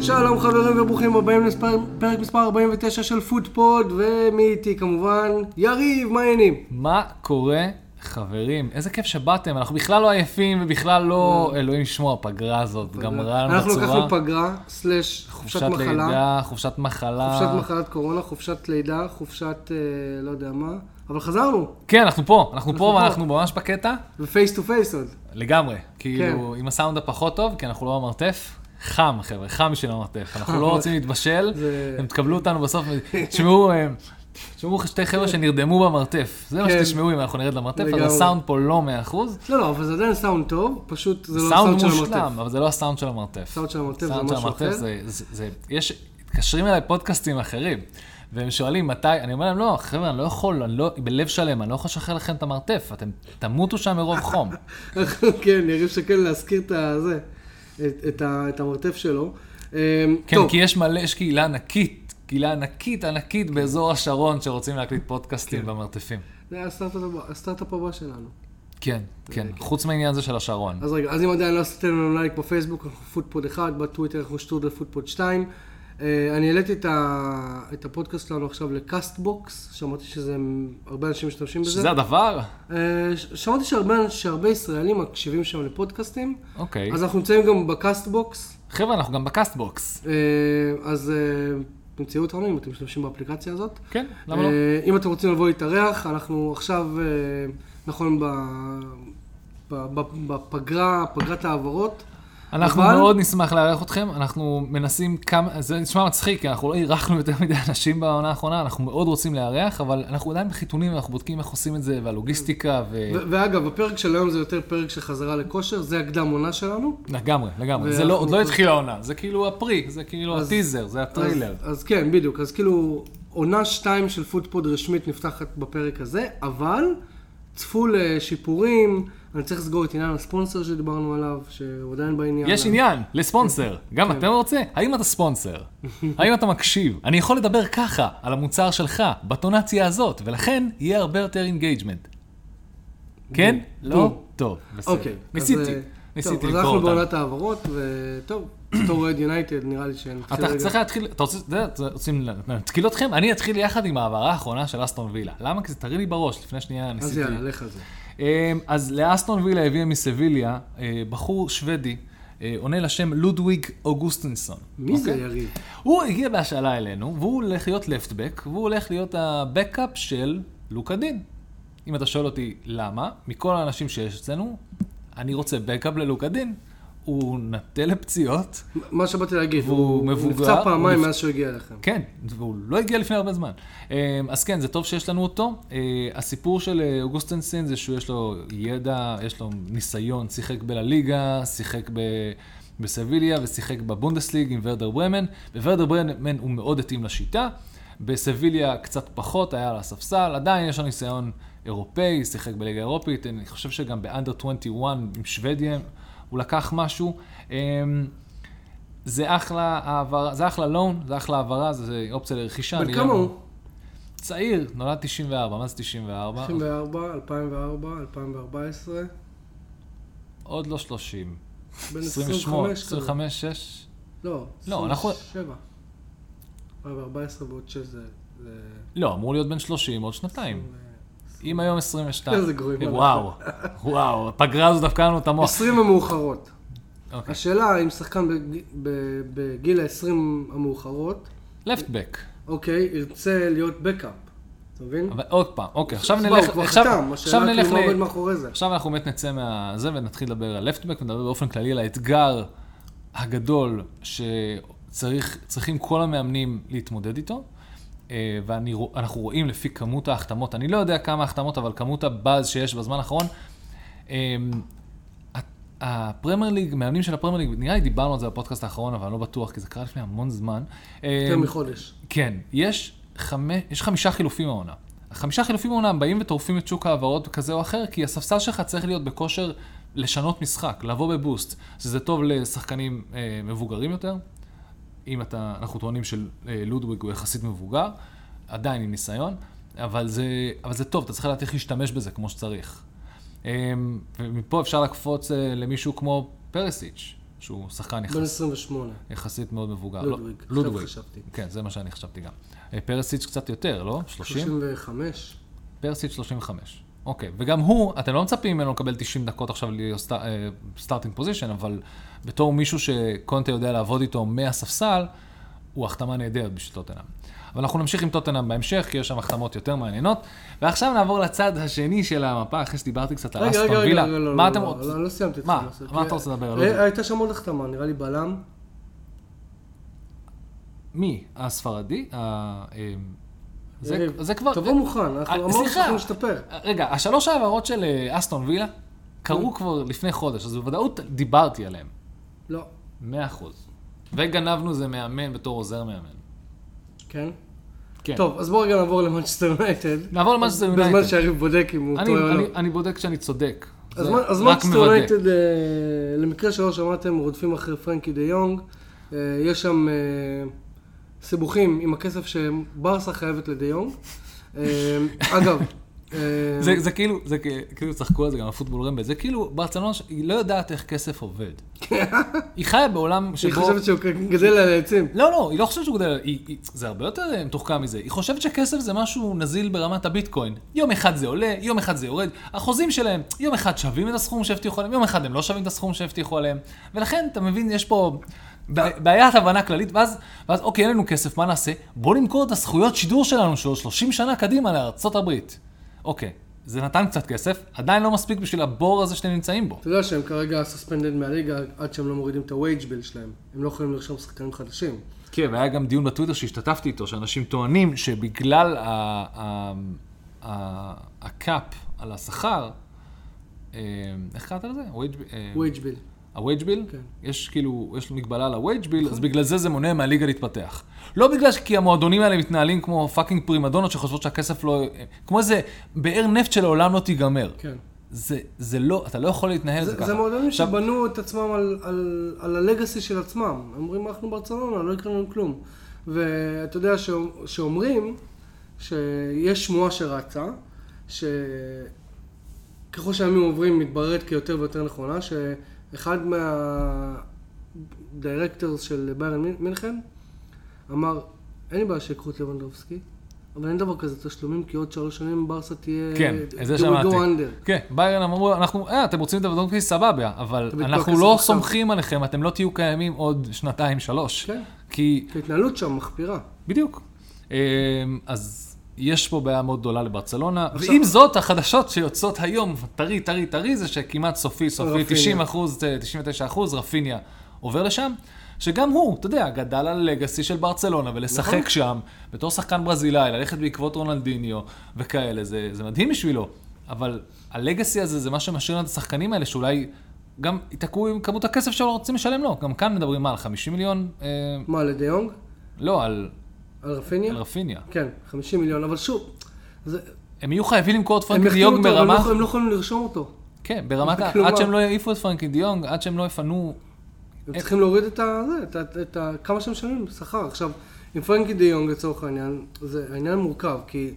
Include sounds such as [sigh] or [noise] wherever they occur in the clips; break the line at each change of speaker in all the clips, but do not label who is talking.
שלום חברים וברוכים הבאים לפרק מספר 49 של פודפוד, ומי איתי כמובן? יריב, מה העניינים?
מה קורה, חברים? איזה כיף שבאתם, אנחנו בכלל לא עייפים ובכלל לא, אלוהים שמו, הפגרה הזאת גמרה לנו
אה. אנחנו
בצורה.
לקחנו פגרה, סלאש, חופשת מחלה,
לידה, חופשת מחלה.
חופשת מחלת קורונה, חופשת לידה, חופשת אה, לא יודע מה, אבל חזרנו,
כן, אנחנו פה, אנחנו פה
פה.
ואנחנו ממש בקטע,
ופייס טו פייס עוד.
לגמרי.
כן.
כאילו, עם הסאונד הפחות טוב, כי אנחנו לא במרתף. חם, חבר'ה, חם בשביל המרתף. אנחנו
[laughs]
לא רוצים להתבשל,
זה-
אתם תקבלו אותנו בסוף. תשמעו, אה, תשמעו שתי חבר'ה שנרדמו במרתף. זה מה
כן.
שתשמעו אם אנחנו נרד למרתף, אז
לגמרי.
הסאונד פה לא 100%.
לא, לא, אבל זה עדיין סאונד טוב, פשוט זה לא הסאונד
סאונד
של המרתף.
מושלם, אבל זה לא הסאונד של המרתף.
הסאונד של המרתף זה
הסאונד של
משהו
המרתף
אחר.
זה- זה- זה- יש, מתקשרים אליי פודקאסטים אחרים, והם שואלים מתי, אני אומר להם, לא, חבר'ה, אני לא יכול, אני לא, בלב שלם, אני לא יכול לשחרר לכם את המרתף, אתם תמותו
[laughs]
שם מרוב חום.
כן, יריב שקל להזכיר את ה- זה, את- את ה- את המרתף שלו. אה,
כן,
טוב.
כי יש מלא, יש קהילה ענקית, קהילה ענקית ענקית באזור השרון שרוצים להקליט
כן.
פודקאסטים במרתפים.
זה היה הסטארט-אפ הבא- הסטארט-אפ הבא שלנו.
כן, כן,
אה,
חוץ מהעניין הזה של השרון.
אז רגע, אז אם עדיין לא עשיתם לנו לייק בפייסבוק, אנחנו פודפוד 1, בטוויטר אנחנו שטורדל פודפוד 2. אה, אני העליתי את, ה... את הפודקאסט שלנו עכשיו לקאסטבוקס, שמעתי שזה, הרבה אנשים משתמשים בזה.
שזה הדבר?
אה, ש- שמעתי שהרבה, שהרבה ישראלים מקשיבים שם לפודקאסטים,
אוקיי.
אז אנחנו נמצאים גם בקאסטבוקס,
חבר'ה, אנחנו גם בקאסטבוקס.
אה, אז אה, תמצאו אותנו אם אתם משתמשים באפליקציה הזאת.
כן, למה לא?
אה, אם אתם רוצים לבוא להתארח, אנחנו עכשיו, אה, נכון, ב... ב- ב- בפגרה, פגרת העברות.
אנחנו
אבל-
אבל... מאוד נשמח לארח אתכם, אנחנו מנסים כמה, זה נשמע מצחיק, כי אנחנו לא אירחנו יותר מדי אנשים בעונה האחרונה, אנחנו מאוד רוצים לארח, אבל אנחנו עדיין בחיתונים, אנחנו בודקים איך עושים את זה, והלוגיסטיקה,
ו- ואגב, הפרק של היום זה יותר פרק של חזרה לכושר, זה הקדם עונה שלנו.
ולגמרי, לגמרי. זה
ואנחנו-
לא, עוד לא התחילה העונה, זה כאילו הפרי, זה כאילו
אז-
הטיזר, זה הטריילר.
אז, אז כן, בדיוק. אז כאילו, עונה 2 של פודפוד רשמית נפתחת בפרק הזה, אבל צפו לשיפורים, אני צריך לסגור את עניין הספונסר שדיברנו עליו, שהוא עדיין בעניין.
יש עניין, לספונסר. גם
כן.
אתה רוצה? האם אתה ספונסר? האם אתה מקשיב? אני יכול לדבר ככה על המוצר שלך, בטונציה הזאת, ולכן יהיה הרבה יותר אינגייג'מנט. כן? לא? טוב, בסדר.
אוקיי. אז,
ניסיתי,
אה,
ניסיתי
טוב, אז
לקרוא
אנחנו
אותם.
בעונת ההעברות, וטוב, בתור אוהד יונייטד נראה לי שאני...
אתה צריך להתחיל, אתה רוצה, אתה יודע, אתה- רוצים להתקיל אתכם? אני אתחיל יחד עם ההעברה האחרונה של אסטון וילה. למה? כי זה טרי לי בראש, לפני שנייה
אז
ניסיתי.
יאללה, לך על זה.
אמ, אז לאסטון וילה הביאה מסביליה אה, בחור שוודי, אה, עונה לשם לודוויג אוגוסטינסון.
מי זה
אוקיי?
יריב?
הוא הגיע בהשאלה אלינו, והוא הולך להיות לפטבק, והוא הולך להיות הבקאפ של לוקה דין. אם אתה שואל אותי למה, מכל האנשים שיש אצלנו, אני רוצה בקאפ ללוקה דין. הוא נטה לפציעות,
מה שבאתי להגיד,
והוא מבוגר,
נפצע
הוא
פעמיים
נפ-
מאז שהוא הגיע אליכם.
כן, והוא לא הגיע לפני הרבה זמן. אה, אז כן, זה טוב שיש לנו אותו. אה, הסיפור של אה, אוגוסטנסין זה שהוא יש לו ידע, יש לו ניסיון, שיחק בלליגה, שיחק ב... בסביליה ושיחק בבונדסליג עם ורדר ברמן. בוורדר ברמן הוא מאוד התאים לשיטה. בסביליה קצת פחות, היה על הספסל, עדיין יש לו ניסיון אירופאי, שיחק בליגה האירופית, אני חושב שגם באנדר 21 עם שוודיה הוא לקח משהו. אה, זה אחלה העברה, זה אחלה לון, זה אחלה העברה, זה, זה אופציה לרכישה.
בן
אני לא-
כמה
גם-
הוא?
צעיר, נולד 94, מה זה 94?
94, 2004, 2014,
עוד לא 30.
בין
28,
25 כזה.
25, 6.
לא,
לא, אנחנו-
27. 2014 ועוד 6 זה... זה-
לא, אמור להיות בן 30 עוד שנתיים. אם היום 22.
איזה גרועים אנחנו.
וואו, וואו, הפגרה הזו דפקה לנו את המוח.
20 המאוחרות.
אוקיי.
השאלה אם שחקן בג- ב- בגיל ה-20 המאוחרות,
לפטבק.
אוקיי, ירצה להיות בקאפ. אתה מבין?
אבל עוד פעם, אוקיי, עכשיו
סבבה,
נלך...
הוא כבר
עכשיו-
חתם,
עכשיו
השאלה
נלך
כאילו מה
ל- אה,
עומד מאחורי זה.
עכשיו אנחנו באמת נצא מהזה ונתחיל לדבר על לפטבק ונדבר באופן כללי על האתגר הגדול שצריכים כל המאמנים להתמודד איתו. אה, ואנחנו רואים לפי כמות ההחתמות, אני לא יודע כמה החתמות, אבל כמות הבאז שיש בזמן האחרון. אה, הפרמייר ליג, מאמנים של הפרמייר ליג, נראה לי דיברנו על זה בפודקאסט האחרון, אבל אני לא בטוח, כי זה קרה לפני המון זמן.
יותר
אה,
מחודש.
כן, יש, חמי, יש חמישה חילופים העונה. החמישה חילופים העונה הם באים וטורפים את שוק ההעברות כזה או אחר, כי הספסל שלך צריך להיות בכושר לשנות משחק, לבוא בבוסט, שזה טוב לשחקנים אה, מבוגרים יותר. אם אתה, אנחנו טוענים שלודוויג הוא יחסית מבוגר, עדיין עם ניסיון, אבל זה, אבל זה טוב, אתה צריך לדעת איך להשתמש בזה כמו שצריך. אה, ומפה אפשר לקפוץ אה, למישהו כמו פרסיץ', שהוא שחקן
בן
יחס,
28.
יחסית מאוד מבוגר.
לודוויג,
לא,
עכשיו
לודוויג.
חשבתי.
כן, זה מה שאני חשבתי גם. אה, פרסיץ' קצת יותר, לא? 30?
35.
פרסיץ' 35. אוקיי, וגם הוא, אתם לא מצפים ממנו לקבל 90 דקות עכשיו לסטארטינג פוזיישן, אבל בתור מישהו שקונטה יודע לעבוד איתו מהספסל, הוא החתמה נהדרת בשביל טוטנאם. אבל אנחנו נמשיך עם טוטנאם בהמשך, כי יש שם החתמות יותר מעניינות. ועכשיו נעבור לצד השני של המפה, אחרי שדיברתי קצת על
רגע, רגע,
אסטון
רגע,
וילה.
רגע, לא,
מה
לא,
אתם
לא,
רוצים?
לא, לא סיימתי את
מה?
זה.
מה
כי-
אתה רוצה לדבר? לא
אה,
יודע.
הייתה שם עוד החתמה, נראה לי בלם.
מי? הספרדי? ה- אמ, זה-
יריב,
זה כבר...
תבוא מוכן, אנחנו
אה,
אמרנו
סליחה.
שאנחנו נשתפר.
רגע, השלוש העברות של אה, אסטון וילה קרו כבר לפני חודש, אז בוודאות דיברתי עליהם.
לא,
מאה אחוז. וגנבנו זה מאמן בתור עוזר מאמן.
כן?
כן.
טוב, אז בואו רגע נעבור למנצ'סטר יונייטד.
נעבור למאנסטר יונייטד.
בזמן שהיריב בודק אם הוא
אני-
טועה או לא.
אני- אני בודק שאני צודק.
אז
זה
מה- אז
רק
מנצ'סטר
מוודא.
יונייטד, אה, למקרה שלא שמעתם, רודפים אחרי פרנקי דה יונג. אה, יש שם אה, סיבוכים עם הכסף שברסה חייבת לדה יונג. אה, אגב, אה,
זה- זה כאילו, זה כ- כאילו צחקו על זה גם הפוטבול רמבל, זה כאילו ברצלונה, ש- היא לא יודעת איך כסף עובד. היא חיה בעולם
כן. היא
שבו...
חושבת שהוא גדל על העצים.
לא, לא, היא לא חושבת שהוא גדל, היא- היא- זה הרבה יותר אה, מתוחכם מזה. היא חושבת שכסף זה משהו נזיל ברמת הביטקוין. יום אחד זה עולה, יום אחד זה יורד. החוזים שלהם, יום אחד שווים את הסכום שהבטיחו עליהם, יום אחד הם לא שווים את הסכום שהבטיחו עליהם. ולכן, אתה מבין, יש פה בע- בעיית הבנה כללית, ואז, ואז אוקיי, אין לנו כסף, מה נעשה? בואו נמכור את הזכויות שידור שלנו שעוד 30 שנה קדימה לארצות הברית. אוקיי, זה נתן קצת כסף, עדיין לא מספיק בשביל הבור הזה שאתם נמצאים בו.
אתה יודע שהם כרגע סספנדד מהליגה עד שהם לא מורידים את ה-wage bill שלהם. הם לא יכולים לרשום שחקנים חדשים.
כן, והיה גם דיון בטוויטר שהשתתפתי איתו, שאנשים טוענים שבגלל ה- ה- ה- הקאפ על השכר, אה, איך קראת לזה? wage- אה,
wage bill.
ה-wage bill?
כן.
יש כאילו, יש מגבלה על ה-wage bill, אז בגלל זה זה מונע מהליגה להתפתח. לא בגלל ש- כי המועדונים האלה מתנהלים כמו פאקינג פרימדונות שחושבות שהכסף לא... כמו איזה באר נפט שלעולם לא תיגמר.
כן.
זה, זה לא, אתה לא יכול להתנהל, זה
זה
ככה.
זה מועדונים
עכשיו,
שבנו את עצמם על, על, על הלגאסי של עצמם. הם אומרים, אנחנו ברצלונה, לא יקרה לנו כלום. ואתה יודע שאומ- שאומרים שיש שמועה שרצה, שככל שהימים עוברים מתבררת כיותר ויותר נכונה, שאחד מהדירקטורס של ביירן מין- מינכן אמר, אין לי בעיה שיקחו את לבנדובסקי, אבל אין דבר כזה תשלומים, כי עוד שלוש שנים ברסה תהיה...
כן, את זה
they will אה, go
שמעתי.
under."
כן, ביירן אמרו, אנחנו, אה, אתם רוצים את עבודות סבבה, אבל
אתם
אנחנו
מתפרקסים
לא
עכשיו.
סומכים עליכם, אתם לא תהיו קיימים עוד שנתיים, שלוש.
כן.
כי,
כי ההתנהלות שם מחפירה.
בדיוק. אמ, אז יש פה בעיה מאוד גדולה לברצלונה, ועם זאת, החדשות שיוצאות היום, טרי, טרי, טרי, זה שכמעט סופי, סופי,
רפיניה.
90 אחוז, 99 אחוז, רפיניה עובר לשם. שגם הוא, אתה יודע, גדל על לגאסי של ברצלונה, ולשחק
נכון.
שם, בתור שחקן ברזילאי, ללכת בעקבות רונלדיניו וכאלה, זה, זה מדהים בשבילו. אבל הלגאסי הזה זה מה שמשאיר לנו את השחקנים האלה, שאולי גם ייתקעו עם כמות הכסף שלא רוצים לשלם לו. גם כאן מדברים מה, על 50 מיליון? אה,
מה, לדה יונג?
לא, על,
על רפיניה?
על רפיניה.
כן, 50 מיליון, אבל שוב, זה,
הם יהיו חייבים למכור את
הם
פרנקי
יחתימו
דיונג
אותו, אבל הם לא
ברמה...
יכולים- הם לא יכולים לרשום אותו.
כן, ברמת... ה-
כלומר-
עד שהם לא יעיפו את פרנקי דיונג, עד שהם לא יפנו...
הם צריכים להוריד את ה... זה, את ה- את ה... כמה שהם משלמים בשכר. עכשיו, עם פרנקי דה יונג לצורך העניין, זה העניין מורכב, כי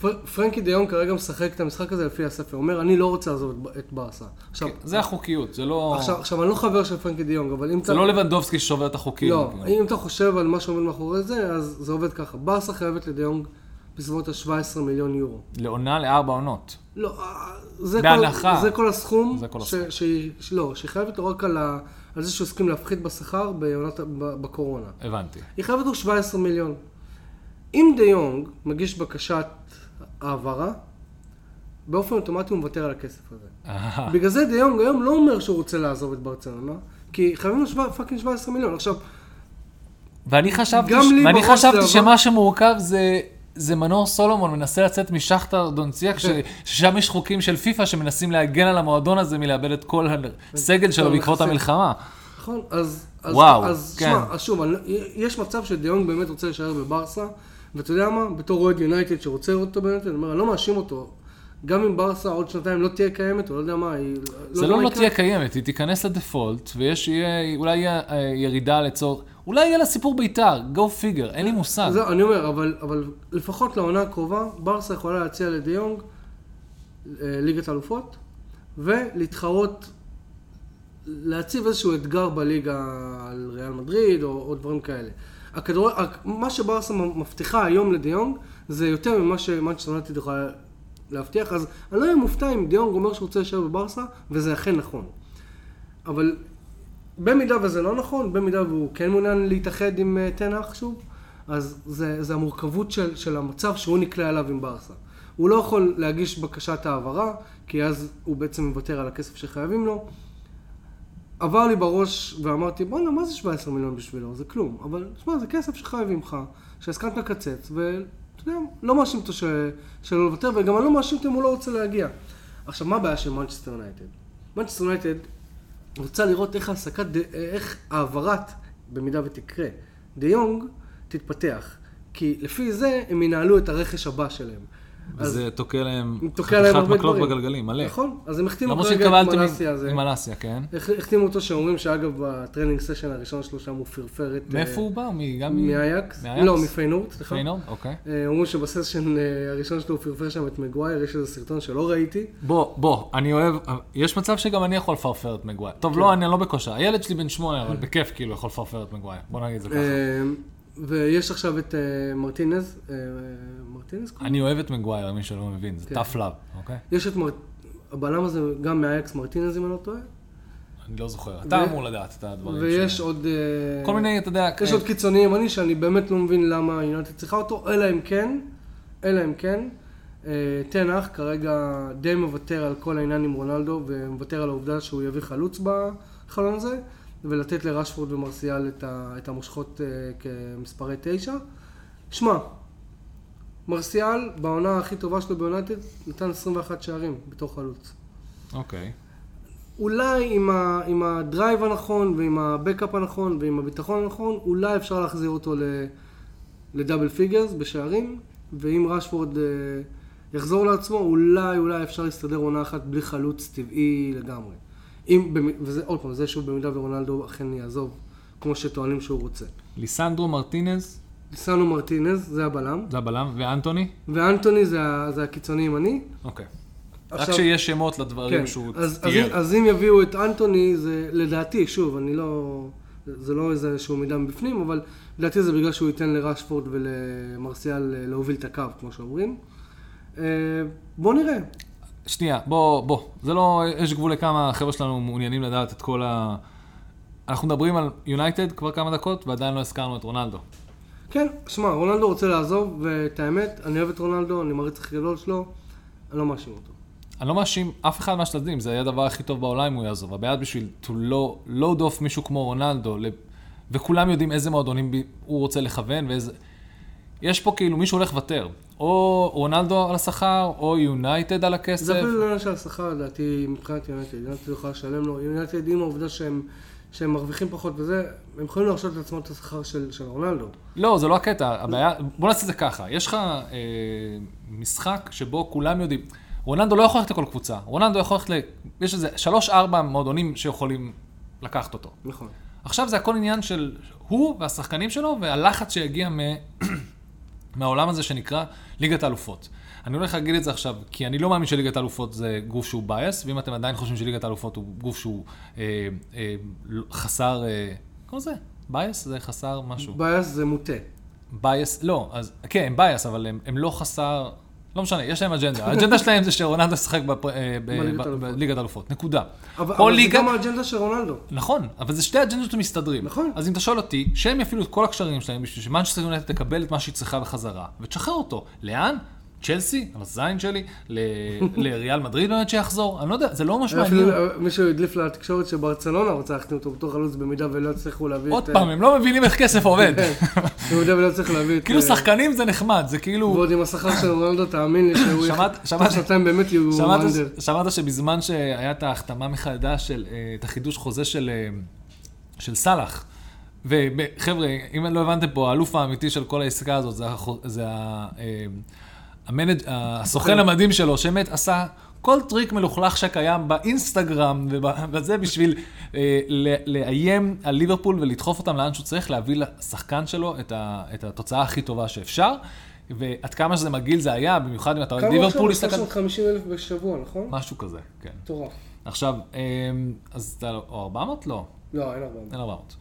פר- פרנקי דה יונג כרגע משחק את המשחק הזה לפי הספר. הוא אומר, אני לא רוצה לעזוב את ב- את ברסה. עכשיו,
כן, זה החוקיות, זה לא...
עכשיו, עכשיו, אני לא חבר של פרנקי דה יונג, אבל אם אתה...
זה לא לבנדובסקי ששובר את החוקים.
לא,
כאילו.
אם אתה חושב על מה שעומד מאחורי זה, אז זה עובד ככה. ברסה חייבת לדה יונג בסביבות ה-17 מיליון יורו.
לעונה לארבע עונות.
לא, אה, זה
בהנחה.
כל, זה כל הסכום.
זה כל
ש,
הסכום.
ש, ש, לא, שהיא חייבת לו רק על, ה, על זה שהוא הסכים להפחית בשכר בעונת, ה- ב- בקורונה.
הבנתי. [laughs]
היא חייבת לו 17 מיליון. אם דה יונג מגיש בקשת העברה, באופן אוטומטי הוא מוותר על הכסף הזה.
אהה.
בגלל זה דה יונג היום לא אומר שהוא רוצה לעזוב את ברצלונה, כי חייבים לו שבע- פאקינג 17 מיליון. עכשיו,
ואני חשבתי,
גם
ש...
לי
ואני
בראש זה
חשבתי
עבר.
שמה שמורכב זה... זה מנור סולומון מנסה לצאת משחטר דונציאק, ש...
כן.
ששם יש חוקים של פיפא שמנסים להגן על המועדון הזה מלאבד את כל הסגל שלו
כן. טוב,
בעקבות
נכנסים.
המלחמה.
נכון, אז... אז
וואו,
אז,
כן.
שמע, אז שוב, אני, לא, יש מצב שדיונג באמת רוצה להישאר בברסה, ואתה יודע מה? בתור אוהד יונייטד שרוצה לראות אותו ביונייטד, אני אומר, אני לא מאשים אותו. גם אם ברסה עוד שנתיים לא תהיה קיימת, או לא יודע מה, היא...
זה
יודע
לא
מה
לא
יקרה.
תהיה קיימת, היא תיכנס לדפולט, ויש, יהיה, אולי יהיה אה, ירידה לצורך, אולי יהיה לה סיפור בית"ר, go figure, אין לי מושג.
זה, אני אומר, אבל, אבל לפחות לעונה הקרובה, ברסה יכולה להציע לדיונג אה, ליגת אלופות, ולהתחרות להציב איזשהו אתגר בליגה על ריאל מדריד או, או דברים כאלה. הכדור... מה שברסה מבטיחה היום לדיונג זה יותר ממה שמנצ'סטר נטית יכולה להבטיח, אז אני לא אהיה מופתע אם דיונג אומר שהוא רוצה להישאר בברסה, וזה אכן נכון. אבל במידה וזה לא נכון, במידה והוא כן מעוניין להתאחד עם אה, תנח שוב, אז זה, זה המורכבות של, של המצב שהוא נקלע אליו עם ברסה. הוא לא יכול להגיש בקשת העברה, כי אז הוא בעצם מוותר על הכסף שחייבים לו. עבר לי בראש ואמרתי, בואנה, מה זה 17 מיליון בשבילו? זה כלום. אבל, תשמע, זה כסף שחייבים לך, שהסכמת לקצץ, ואתה יודע, לא מאשים אותו ש... שלא לוותר, וגם אני לא מאשים אותו אם הוא לא רוצה להגיע. עכשיו, מה הבעיה של מנצ'סטר יונייטד? מנצ'סטר יונייטד רוצה לראות איך העסקת, ד- איך העברת, במידה ותקרה, דה יונג, תתפתח. כי לפי זה הם ינהלו את הרכש הבא שלהם. אז
וזה תוקע להם
תוקע להם הרבה
מקלות
דברים.
בגלגלים, מלא. לא
נכון, אז הם החתימו
למרות
כרגע את
שהתקבלתם
מלאסיה
עם-
הזה.
עם מלאסיה, כן.
הח- החתימו אותו שאומרים שאגב בטרנינג סשן הראשון שלו שם הוא פרפר את... אה,
מאיפה הוא בא? מ- גם מ-
מאייקס?
מאייקס?
לא, מפיינורד, סליחה.
פיינורד? אוקיי.
אה, אומרים שבסשן אה, הראשון שלו הוא פרפר שם את מגווייר, יש איזה סרטון שלא ראיתי.
בוא, בוא, אני אוהב, יש מצב שגם אני יכול לפרפר את מגווייר. טוב,
כן.
לא, אני לא בכושר. הילד שלי בן שמונה, אבל בכיף כאילו יכול לפרפר את מגווייר. בוא נגיד את זה ככה.
אה, ויש עכשיו את אה, מרטינז, אה, מרטינז קוראים?
אני אוהב את מגווייר, למי שלא מבין, זה
כן.
tough love, אוקיי?
יש את מרט... הבלם הזה גם מאייקס מרטינז אם אני לא טועה.
אני לא זוכר. אתה אמור לדעת את הדברים.
ויש
ש-
עוד... אה,
כל מיני, אתה יודע,
יש עוד קיצוני ימני שאני באמת לא מבין למה יונייטד צריכה אותו, אלא אם כן, אלא אם כן, אה, תנח כרגע די מוותר על כל העניין עם רונלדו, ומוותר על העובדה שהוא יביא חלוץ בחלון הזה, ולתת לרשפורד ומרסיאל את, ה, את המושכות אה, כמספרי תשע. שמע, מרסיאל בעונה הכי טובה שלו ביונייטד נתן 21 שערים בתור חלוץ.
אוקיי.
אולי עם, ה, עם הדרייב הנכון ועם הבקאפ הנכון ועם הביטחון הנכון, אולי אפשר להחזיר אותו ל, לדאבל פיגרס בשערים, ואם רשפורד אה, יחזור לעצמו, אולי אולי אפשר להסתדר עונה אחת בלי חלוץ טבעי לגמרי. אם, במ- וזה עוד פעם, זה שוב במידה ורונלדו אכן יעזוב, כמו שטוענים שהוא רוצה.
ליסנדרו מרטינז,
סנו מרטינז, זה הבלם,
זה הבלם, ואנטוני?
ואנטוני זה, ה- זה הקיצוני ימני.
אוקיי. רק
עכשיו-
שיש שמות לדברים
כן,
שהוא
אז, אז, אם-
תיאר.
אז אם יביאו את אנטוני, זה לדעתי, שוב, אני לא... זה לא איזה שהוא מידע מבפנים, אבל לדעתי זה בגלל שהוא ייתן לרשפורד ולמרסיאל אה, להוביל את הקו, כמו שאומרים. אה, בוא נראה.
שנייה, בוא, בוא. זה לא, יש גבול לכמה החבר'ה שלנו מעוניינים לדעת את כל ה... אנחנו מדברים על יונייטד כבר כמה דקות, ועדיין לא הזכרנו את רונלדו.
כן, שמע, רונלדו רוצה לעזוב, ואת האמת, אני אוהב את רונלדו, אני מעריץ הכי גדול שלו, אני לא מאשים אותו.
אני לא מאשים אף אחד מהשלדים, זה היה הדבר הכי טוב בעולם אם הוא יעזוב. הבעיה בשביל to low, load off מישהו כמו רונלדו, ל- וכולם יודעים איזה מועדונים ב- הוא רוצה לכוון ואיזה... יש פה כאילו מישהו הולך לוותר. או רונלדו על השכר, או יונייטד על הכסף.
זה אפילו לא עניין של השכר, לדעתי, מבחינת יונתד. יונתד יכולה לשלם לו. יונתד, עם העובדה שהם, שהם מרוויחים פחות וזה, הם יכולים להרשות לעצמם את השכר של, של רונלדו.
לא, זה לא הקטע, הבעיה, בוא נעשה את זה ככה, יש לך אה, משחק שבו כולם יודעים, רוננדו לא יכול ללכת לכל קבוצה, רוננדו יכול ללכת ל... יש איזה שלוש-ארבע מועדונים שיכולים לקחת אותו.
נכון.
עכשיו זה הכל עניין של הוא והשחקנים שלו והלחץ שיגיע מ... [clears throat] מהעולם הזה שנקרא ליגת האלופות. אני הולך להגיד את זה עכשיו, כי אני לא מאמין שליגת האלופות זה גוף שהוא בייס, ואם אתם עדיין חושבים שליגת האלופות הוא גוף שהוא אה, אה, לא- חסר, אה, כמו זה, בייס זה חסר משהו.
בעיה זה מוטה.
בייס, לא, אז כן, הם בייס, אבל הם, הם לא חסר, לא משנה, יש להם
[laughs]
אג'נדה. האג'נדה שלהם זה שרונלדו ישחק בפ- אה, ב-
בליגת
ב-
האלופות.
בליגת אלופות, נקודה.
אבל,
כל
אבל
ליגה...
זה גם האג'נדה של רונלדו.
נכון, אבל זה שתי אג'נדות שמסתדרים.
נכון.
אז אם אתה שואל אותי, שהם יפעילו את כל הקשרים שלהם בשביל שמנצ'סטר יונטד תקבל את מה שהיא צריכה בחזרה, ותשחרר אותו. לאן? צ'לסי, על הזין שלי, ל-
[laughs]
לריאל מדריד באמת שיחזור, אני לא יודע, זה לא ממש מעניין.
אפילו אה, מישהו הדליף לתקשורת שברצלונה רוצה להחתים אותו בתור חלוץ במידה ולא הצליחו להביא
עוד
את... אה,
פעם, הם לא מבינים איך כסף עובד.
כן, במידה ולא הצליחו להביא את...
כאילו
אה,
שחקנים זה נחמד, זה כאילו...
ועוד עם השכר של רונלדו, תאמין לי שהוא...
שמעת-
יח-
שמעת-
תוך שנתיים באמת יהיו
שמעת-
וונדר.
שמעת שבזמן שהיה את ההחתמה מחדש של, אה, את החידוש חוזה של, אה, של סאלח, וחבר'ה, אם לא הבנתם פה, האלוף האמיתי של כל העסקה הזאת, זה, החו- זה ה- אה, המנג,
כן.
הסוכן המדהים שלו, שבאמת עשה כל טריק מלוכלך שקיים באינסטגרם וב- וזה בשביל אה, ל- לאיים על ליברפול ולדחוף אותם לאן שהוא צריך, להביא לשחקן שלו את, ה, את התוצאה הכי טובה שאפשר. ועד כמה שזה מגעיל זה היה, במיוחד אם אתה אוהד
כמה עכשיו?
ליברפול, הסתכל-
350 אלף בשבוע, נכון?
משהו כזה, כן.
מטורף.
עכשיו, אה, אז אתה, לא- או 400? לא,
לא, אין 400.
אין 400.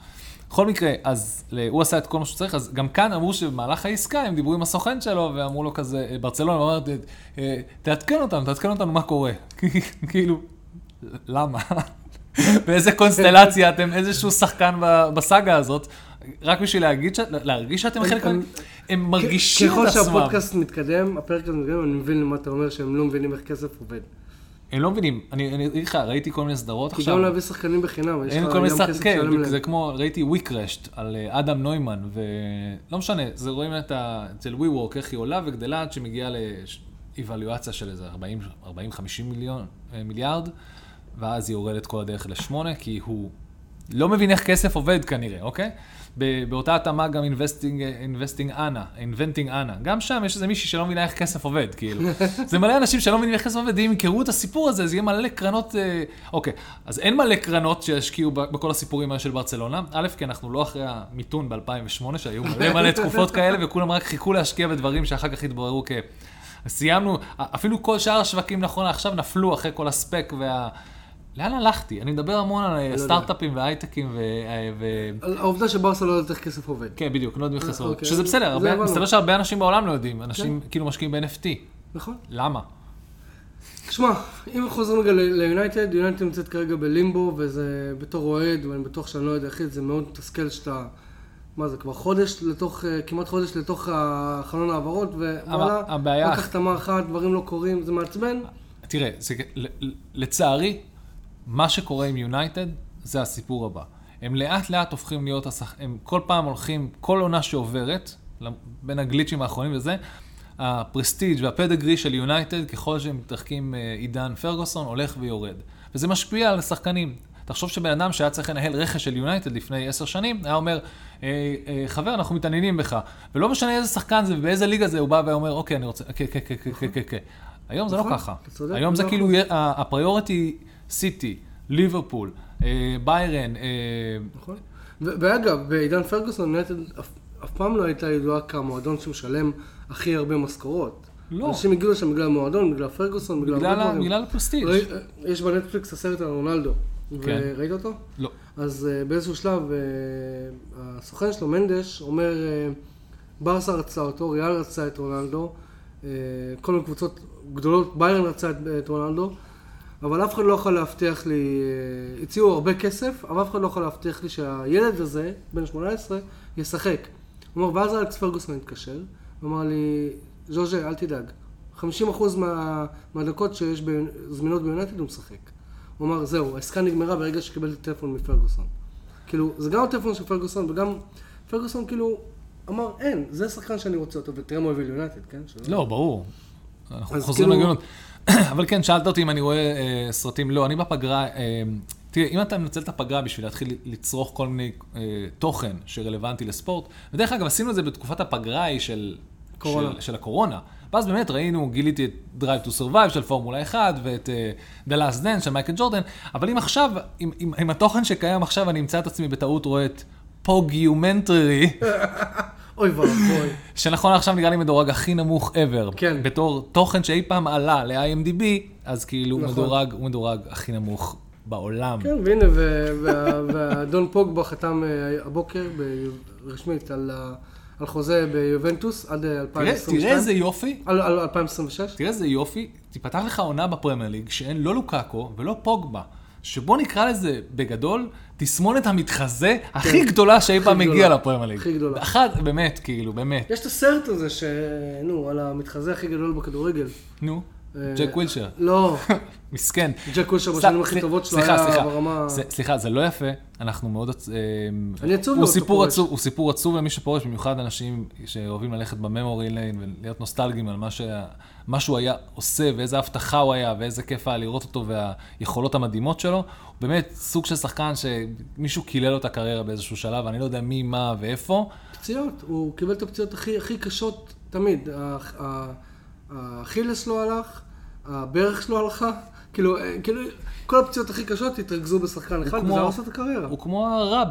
בכל מקרה, אז ל- הוא עשה את כל מה שהוא צריך, אז גם כאן אמרו שבמהלך העסקה הם דיברו עם הסוכן שלו, ואמרו לו כזה, אה, ברצלונה, הוא אמר, "ת- אה, תעדכן אותנו, תעדכן אותנו מה קורה. [laughs] כאילו, למה? [laughs] באיזה קונסטלציה אתם איזשהו שחקן ב- בסאגה הזאת, רק בשביל להגיד, ש- להרגיש שאתם חלק
הם-
מהם, הם מרגישים את
ככל
עצמם.
שהפודקאסט מתקדם, הפרק הזה מתקדם, אני מבין למה אתה אומר שהם לא מבינים איך כסף עובד.
הם לא מבינים, אני אני אגיד לך, ראיתי כל מיני סדרות
כי
עכשיו.
גם להביא שחקנים בחינם, יש לך
אין
גם
כל מיני שחק-
כסף
כן,
לשלם
בדיוק,
להם.
זה כמו, ראיתי ויקרשט על אה, אדם נוימן, ולא משנה, זה רואים את ה... אצל ווי וורק, איך היא עולה וגדלה עד שמגיעה לאיוולואציה של איזה 40-50 מיליון, אה, מיליארד, ואז היא יורדת כל הדרך לשמונה, כי הוא לא מבין איך כסף עובד כנראה, אוקיי? ב- באותה התאמה גם אינבסטינג אנה, אינבנטינג אנה. גם שם יש איזה מישהי שלא מבינה איך כסף עובד, כאילו. זה מלא אנשים שלא מבינים איך כסף עובד, ואם ימכרו את הסיפור הזה, אז יהיה מלא קרנות... אה, אוקיי, אז אין מלא קרנות שישקיעו ב- בכל הסיפורים האלה של ברצלונה. א', כי אנחנו לא אחרי המיתון ב-2008, שהיו מלא מלא תקופות כאלה, וכולם רק חיכו להשקיע בדברים שאחר כך התבררו כ... סיימנו, אפילו כל שאר השווקים נכון עכשיו נפלו אחרי כל הספק וה... לאן הלכתי? אני מדבר המון על אה,
יודע.
סטארט-אפים והייטקים ו... אה, ו...
על העובדה שברסה לא יודעת איך כסף עובד.
כן, בדיוק, לא יודעים איך לעשות.
אוקיי.
שזה בסדר,
זה כן.
הרבה-
הבנו.
מסתבר שהרבה אנשים בעולם לא יודעים. אנשים כאילו משקיעים ב-NFT.
נכון.
למה?
שמע, אם חוזרים רגע ל- ליונייטד, יונייטד נמצאת כרגע בלימבו, וזה בתור אוהד, ואני בטוח שאני לא יודע אחי, זה מאוד מתסכל שאתה, מה זה, כבר חודש לתוך, אה, כמעט חודש לתוך ה- חלון ההעברות, ווואלה,
הבעיה-
רק החתמה אחת, דברים לא קורים, זה מעצבן.
תראה, זה, ל- ל- לצערי, מה שקורה עם יונייטד זה הסיפור הבא. הם לאט לאט הופכים להיות, השח... הם כל פעם הולכים, כל עונה שעוברת, למ- בין הגליצ'ים האחרונים וזה, הפרסטיג' והפדגרי של יונייטד, ככל שהם מתרחקים אה, עידן פרגוסון, הולך ויורד. וזה משפיע על השחקנים. תחשוב שבן אדם שהיה צריך לנהל רכש של יונייטד לפני עשר שנים, היה אומר, אה, אה, חבר, אנחנו מתעניינים בך. ולא משנה איזה שחקן זה ובאיזה ליגה זה, הוא בא ואומר, אוקיי, אני רוצה, כן, כן, כן, כן, כן, כן, כן. היום זה לא
נכון,
ככה.
אתה צודק,
היום זה
מאה
כאילו, יהיה- ה- הפריוריטי סיטי, ליברפול, אה, ביירן, אה,
נכון. ו- ואגב, בעידן פרגוסון יונייטד אף, אף פעם לא הייתה ידועה כמועדון שמשלם הכי הרבה משכורות.
לא.
אנשים הגיעו לשם בגלל המועדון, בגלל פרגוסון, בגלל
בגלל
הרבה
ה-
דברים.
בגלל הפרסטיג'.
ראי- אה, יש בנטפליקס הסרט על רונלדו.
כן.
וראית אותו?
לא.
אז אה, באיזשהו שלב, אה, הסוכן שלו, מנדש, אומר, אה, ברסה רצה אותו, ריאל רצה את רונלדו, אה, כל הקבוצות גדולות, ביירן רצה את, את רונלדו, אבל אף אחד לא יכול להבטיח לי, אה, הציעו הרבה כסף, אבל אף אחד לא יכול להבטיח לי שהילד הזה, בן 18, ישחק. הוא אומר, ואז אלכס פרגוסון התקשר, הוא אמר לי, ז'וז'ה, אל תדאג, 50% מה, מהדקות שיש ב- זמינות ביונטד הוא משחק. הוא אמר, זהו, העסקה נגמרה ברגע שקיבלתי טלפון מפרגוסון. כאילו, זה גם הטלפון של פרגוסון, וגם פרגוסון כאילו אמר, אין, זה שחקן שאני רוצה אותו, ותראה מה הוא הביא ליונטד, כן? שלא-
לא, ברור. אנחנו
אז
חוזרים
כאילו-
לגאונות. [clears throat] אבל כן, שאלת אותי אם אני רואה אה, סרטים. לא, אני בפגרה... אה, תראה, אם אתה מנצל את הפגרה בשביל להתחיל לצרוך כל מיני אה, תוכן שרלוונטי לספורט, ודרך אגב, עשינו את זה בתקופת הפגרה ההיא של...
קורונה.
של, של הקורונה. ואז באמת ראינו, גיליתי את Drive to Survive של פורמולה 1 ואת uh, The Last Dance של מייקל ג'ורדן, אבל אם עכשיו, עם, עם, עם התוכן שקיים עכשיו, אני אמצא את עצמי בטעות רואה את פוגיומנטרי,
[laughs] אוי ואבוי.
שנכון עכשיו נראה לי מדורג הכי נמוך ever.
כן.
בתור תוכן שאי פעם עלה ל-IMDb, אז כאילו
נכון.
נכון. מדורג, הוא מדורג הכי נמוך בעולם.
[laughs] כן, והנה, ו- וה- והאדון פוגבה חתם אה, הבוקר ב- רשמית על ה- על חוזה ביובנטוס עד אה,
תראה, תראה
2022.
איזה יופי,
על על 2026.
תראה איזה יופי, תיפתח לך עונה בפרמייר ליג שאין לא לוקאקו ולא פוגבה. שבוא נקרא לזה בגדול, תסמונת המתחזה הכי גדולה שאי פעם
כן. גדולה.
הגיעה לפרמייר ליג.
הכי גדולה.
אחת, באמת, כאילו, באמת.
יש את הסרט הזה, ש... נו, על המתחזה הכי גדול בכדורגל.
נו,
אה,
ג'ק ווילשר,
לא,
מסכן.
ג'ק ווילשר
סת-
בשנים הכי
סליח-
טובות שלו
סליחה,
היה
סליחה.
ברמה...
ס- סליחה, זה לא יפה, אנחנו מאוד... עצ- אמ,
אני עצוב
הוא
מאוד שאתה
סיפור
פורש.
עצוב, הוא סיפור עצוב למי שפורש, במיוחד אנשים שאוהבים ללכת בממורי ליין ולהיות נוסטלגיים על מה, שה, מה שהוא היה עושה ואיזה הבטחה הוא היה ואיזה כיף היה לראות אותו והיכולות המדהימות שלו. הוא באמת סוג של שחקן שמישהו קילל לו את הקריירה באיזשהו שלב, אני לא יודע מי, מה ואיפה.
פציעות, הוא קיבל את הפציעות הכי, הכי קשות תמיד. האח- ה- האכילס לא הלך, הברך שלו הלכה, כאילו, אה, כאילו, כל הפציעות הכי קשות התרכזו בשחקן אחד,
כמו-
וזה הרס לו את הקריירה.
הוא כמו הרע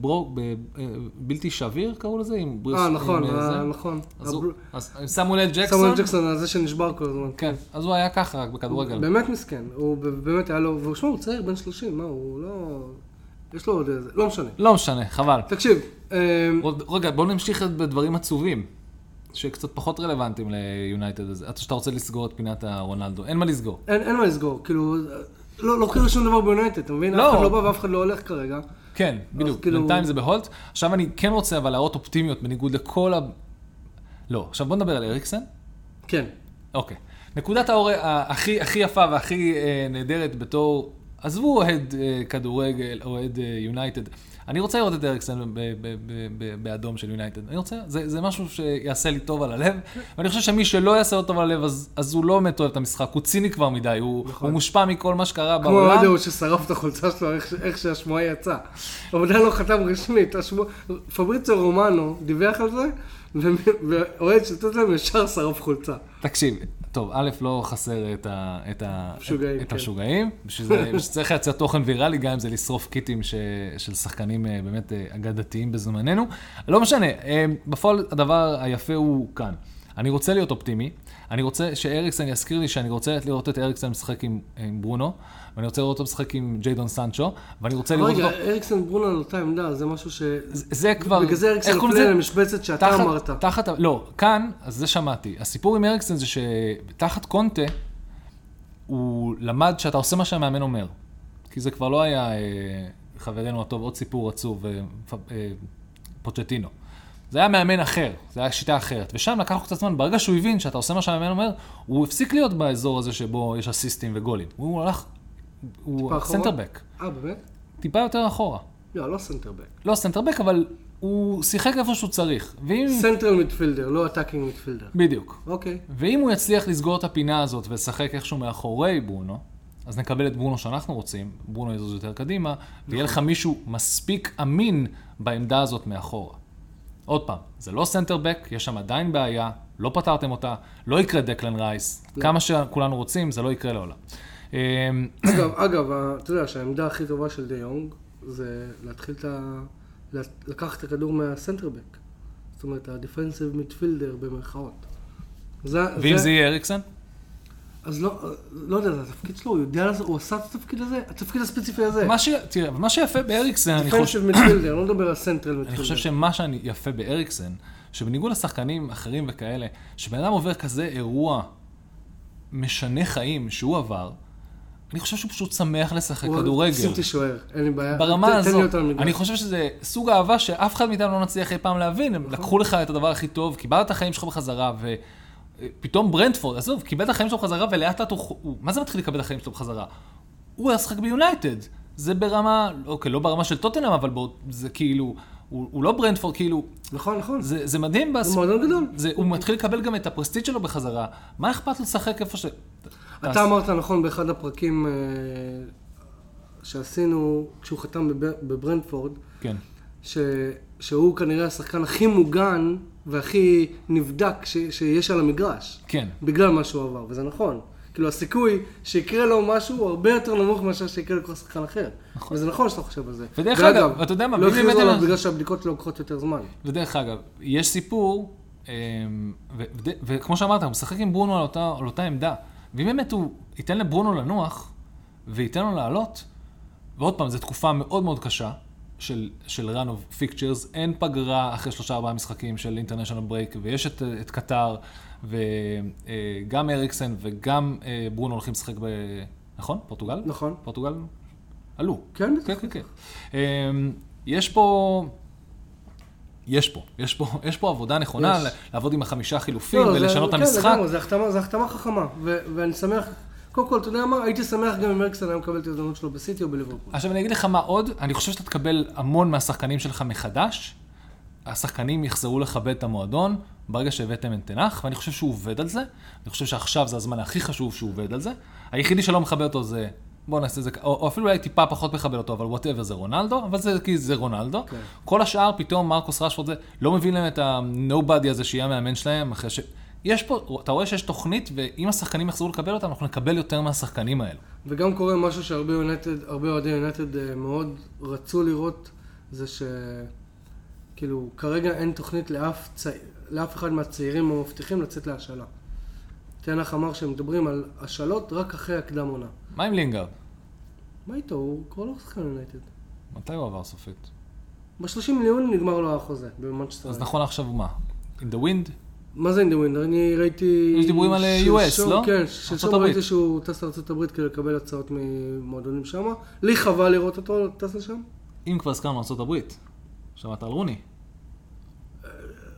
בבלתי אה, שביר, קראו לזה, עם בריס.
אה, נכון,
עם, אה, זה.
אה, נכון.
אז הוא-
הבר-
אז סמואל אל
סמואל
ג'קסון.
ג'קסון, הזה שנשבר כל הזמן.
כן, אז הוא היה ככה, רק בכדורגל.
באמת מסכן, הוא ב- באמת היה לו, ושמע, הוא צעיר, בן 30, מה, הוא לא... יש לו עוד איזה, לא משנה.
לא משנה, חבל.
תקשיב, אה,
עוד- רגע, בוא נמשיך בדברים עצובים, שקצת פחות רלוונטיים ליונייטד. אז אתה- שאתה רוצה לסגור את פינת הרונלדו, אין מה לסגור.
אין אין מה לסגור, כאילו, לא לא קורה שום דבר ביונטד, אתה מבין?
לא.
אף אחד לא בא ואף אחד לא הולך כרגע.
כן, בדיוק.
כאילו-
בינתיים זה בהולט. עכשיו אני כן רוצה אבל להראות אופטימיות בניגוד לכל ה... לא, עכשיו בוא נדבר על אריקסן.
כן.
אוקיי. נקודת האור ה- הכי, הכי יפה והכי אה, נהדרת בתור, עזבו אוהד אה, כדורגל, אוהד אה, יונייטד. אני רוצה לראות את אריקסן ב- ב- ב- ב- באדום של יונייטד. אני רוצה, זה, זה משהו שיעשה לי טוב על הלב, ואני חושב שמי שלא יעשה לו טוב על הלב, אז, אז הוא לא באמת אוהב את המשחק, הוא ציני כבר מדי, הוא, הוא מושפע מכל מה שקרה
נכון. כמו
בעולם.
אוהד ההוא ששרף את החולצה שלו, איך- איך שהשמועה יצאה. הוא עדיין לא חתם רשמית, השמוע- פבריצו רומנו דיווח על זה, ו- ואוהד של טוטנאם ישר שרף חולצה.
תקשיב, טוב, א', לא חסר את, ה, את, ה,
משוגעים,
את
כן.
השוגעים, בשביל זה בשביל זה צריך להציע תוכן ויראלי, גם אם זה לשרוף קיטים ש, של שחקנים אה, באמת אה, אגדתיים בזמננו. לא משנה, אה, בפועל הדבר היפה הוא כאן. אני רוצה להיות אופטימי, אני רוצה שאריקסן יזכיר לי שאני רוצה לראות את אריקסן משחק עם, עם ברונו, ואני רוצה לראות אותו משחק עם ג'יידון סנצ'ו, ואני רוצה לראות
רגע,
אותו...
אריקסן ברונו על אותה עמדה, זה משהו ש...
זה- זה כבר...
בגלל זה
איך
אריקסן
קוראים
הפליין
לזה?
למשבצת שאתה
תחת-
אמרת.
תחת, ה- לא, כאן, אז זה שמעתי. הסיפור עם אריקסן זה שתחת קונטה, הוא למד שאתה עושה מה שהמאמן אומר. כי זה כבר לא היה אה, חברנו הטוב, עוד סיפור עצוב, אה, פ- אה, פוצ'טינו. זה היה מאמן אחר, זה היה שיטה אחרת. ושם לקח לו קצת זמן, ברגע שהוא הבין שאתה עושה מה שהמאמן אומר, הוא הפסיק להיות באזור הזה שבו יש אסיסטים וגולים. הוא הלך, הוא
טיפה אחורה?
סנטרבק,
אה, באמת?
טיפה יותר אחורה.
לא, לא סנטרבק.
לא סנטרבק, אבל הוא שיחק איפה שהוא צריך. ואם...
סנטרל מיטפילדר, לא אטאקינג מיטפילדר.
בדיוק.
אוקיי.
ואם הוא יצליח לסגור את הפינה הזאת ולשחק איכשהו מאחורי ברונו, אז נקבל את ברונו שאנחנו רוצים, ברונו יזוז יותר קדימה, ויהיה לך מישהו מספיק אמין בעמדה הזאת מאחורה. עוד פעם, זה לא סנטר בק, יש שם עדיין בעיה, לא פתרתם אותה, לא יקרה דקלן רייס, כמה שכולנו רוצים, זה לא יקרה לעולם. אמ,
אגב, אגב, ה- אתה יודע שהעמדה הכי טובה של דה יונג זה להתחיל את ה... לת- לקחת את הכדור מהסנטרבק. זאת אומרת, הדיפרנסיב מיטפילדר במרכאות. זה,
ואם
זה,
זה יהיה אריקסן?
אז לא, לא יודע, זה התפקיד שלו, הוא יודע, לעשות- הוא עשה את התפקיד הזה? התפקיד הספציפי הזה.
מה ש... תראה, מה שיפה באריקסן, אני חושב...
דיפרנסיב מיטפילדר, לא מדבר על סנטרל
אני
מיטפילדר.
חושב שמה שאני יפה באריקסן, שבניגוד לשחקנים אחרים וכאלה, שבן אדם עובר כזה אירוע משנה חיים שהוא עבר, אני חושב שהוא פשוט שמח לשחק
הוא-
כדורגל.
שים תשוער, אין לי בעיה. ת-
ברמה
תן לי
הזאת,
אותה למגרש.
אני חושב שזה סוג אהבה שאף אחד מאיתנו לא נצליח אי פעם להבין.
נכון.
הם לקחו לך את הדבר הכי טוב, קיבלת את החיים שלך בחזרה, ופתאום ברנדפורד, עזוב, קיבל את החיים שלו בחזרה, ולאט לאט הוא... חו- הוא- מה זה מתחיל לקבל את החיים שלו בחזרה? הוא היה שחק ביונייטד. זה ברמה, אוקיי, לא ברמה של טוטנאם, אבל בו, זה כאילו, הוא, הוא לא ברנדפורד, כאילו,
נכון, נכון. זה
זה, זה מדהים, בס...
מועדון גדול.
זה, הוא מתחיל לקבל גם את הפרסטיג' שלו בחזרה. מה אכפת לו לשחק איפה ש... אז-
אתה אמרת נכון באחד הפרקים אה, שעשינו, כשהוא חתם בב- בברנדפורד,
כן.
ש... שהוא כנראה השחקן הכי מוגן והכי נבדק ש... שיש על המגרש.
כן.
בגלל מה שהוא עבר, וזה נכון. כאילו הסיכוי שיקרה לו משהו הוא הרבה יותר נמוך מאשר שיקרה לכל שחקן אחר. נכון. וזה נכון שאתה חושב על זה.
ודרך
ואגב,
אגב, אתה יודע מה,
לא
ואם
הכריזו
באמת
עליו
אין-
בגלל שהבדיקות שלו לוקחות יותר זמן.
ודרך אגב, יש סיפור, אמ, ו- ו- וכמו שאמרת, הוא משחק עם ברונו על אותה, על אותה עמדה. ואם באמת הוא ייתן לברונו לנוח, וייתן לו לעלות, ועוד פעם, זו תקופה מאוד מאוד קשה של, של run of fixtures, אין פגרה אחרי שלושה ארבעה משחקים של אינטרנשיונל ברייק, ויש את, את קטר, וגם אריקסן וגם אה, ברונו הולכים לשחק ב... נכון? פורטוגל?
נכון.
פורטוגל עלו.
כן,
כן, כן, כן. אמ, יש פה... יש פה, יש פה, יש פה עבודה נכונה,
יש.
ל- לעבוד עם החמישה חילופים
לא, זה-
ולשנות את
כן,
המשחק.
לגמרי, זה החתמה- זה החתמה חכמה, ו- ואני שמח, קודם כל, אתה יודע מה, הייתי שמח גם אם אריקסון היה מקבל את ההזדמנות שלו בסיטי או בליברפול.
עכשיו אני אגיד לך מה עוד, אני חושב שאתה תקבל המון מהשחקנים שלך מחדש. השחקנים יחזרו לכבד את המועדון ברגע שהבאתם את תנח, ואני חושב שהוא עובד על זה. אני חושב שעכשיו זה הזמן הכי חשוב שהוא עובד על זה. היחידי שלא מכבד אותו זה, בוא נעשה את זה, כ- או, או אפילו אולי טיפה פחות מכבד אותו, אבל וואטאבר זה רונלדו, אבל זה כי זה רונלדו.
כן.
כל השאר פתאום מרקוס רשפורד זה, לא מבין להם את ה-nobody הזה שיהיה המאמן שלהם, אחרי ש... יש פה, אתה רואה שיש תוכנית, ואם השחקנים יחזרו לקבל אותה, אנחנו נקבל יותר מהשחקנים האלו.
וגם קורה משהו שהרבה יונייטד, הרבה אוהדי יונייטד אה, מאוד רצו לראות, זה ש... כאילו, כרגע אין תוכנית לאף, צע... לאף אחד מהצעירים או מבטיחים לצאת להשאלה. תנח אמר שהם מדברים על השאלות רק אחרי הקדם עונה.
מה עם לינגארד?
מה איתו? הוא כבר לא שחקן יונייטד.
מתי הוא עבר סופית?
ב-30 ליוני נגמר לו החוזה במנצ'סטר.
אז נכון עכשיו מה? In the wind?
מה זה אינדווינד? אני ראיתי...
יש דיבורים על, אה,
שלשום-
US, לא?
כן,
ארצות
שלשום
הברית.
ראיתי שהוא טס לארצות הברית כדי לקבל הצעות ממועדונים שם. לי חבל לראות אותו טס לשם.
אם כבר הזכרנו ארה"ב, שמעת על רוני?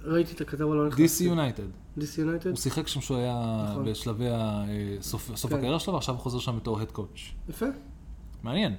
ראיתי את לא הכתב הלא
DC יונייטד.
DC יונייטד.
הוא שיחק שם כשהוא היה
נכון.
בשלבי ה- אה, סוף סוף
כן.
הקריירה שלו, ועכשיו הוא חוזר שם בתור הד קואץ'.
יפה.
מעניין.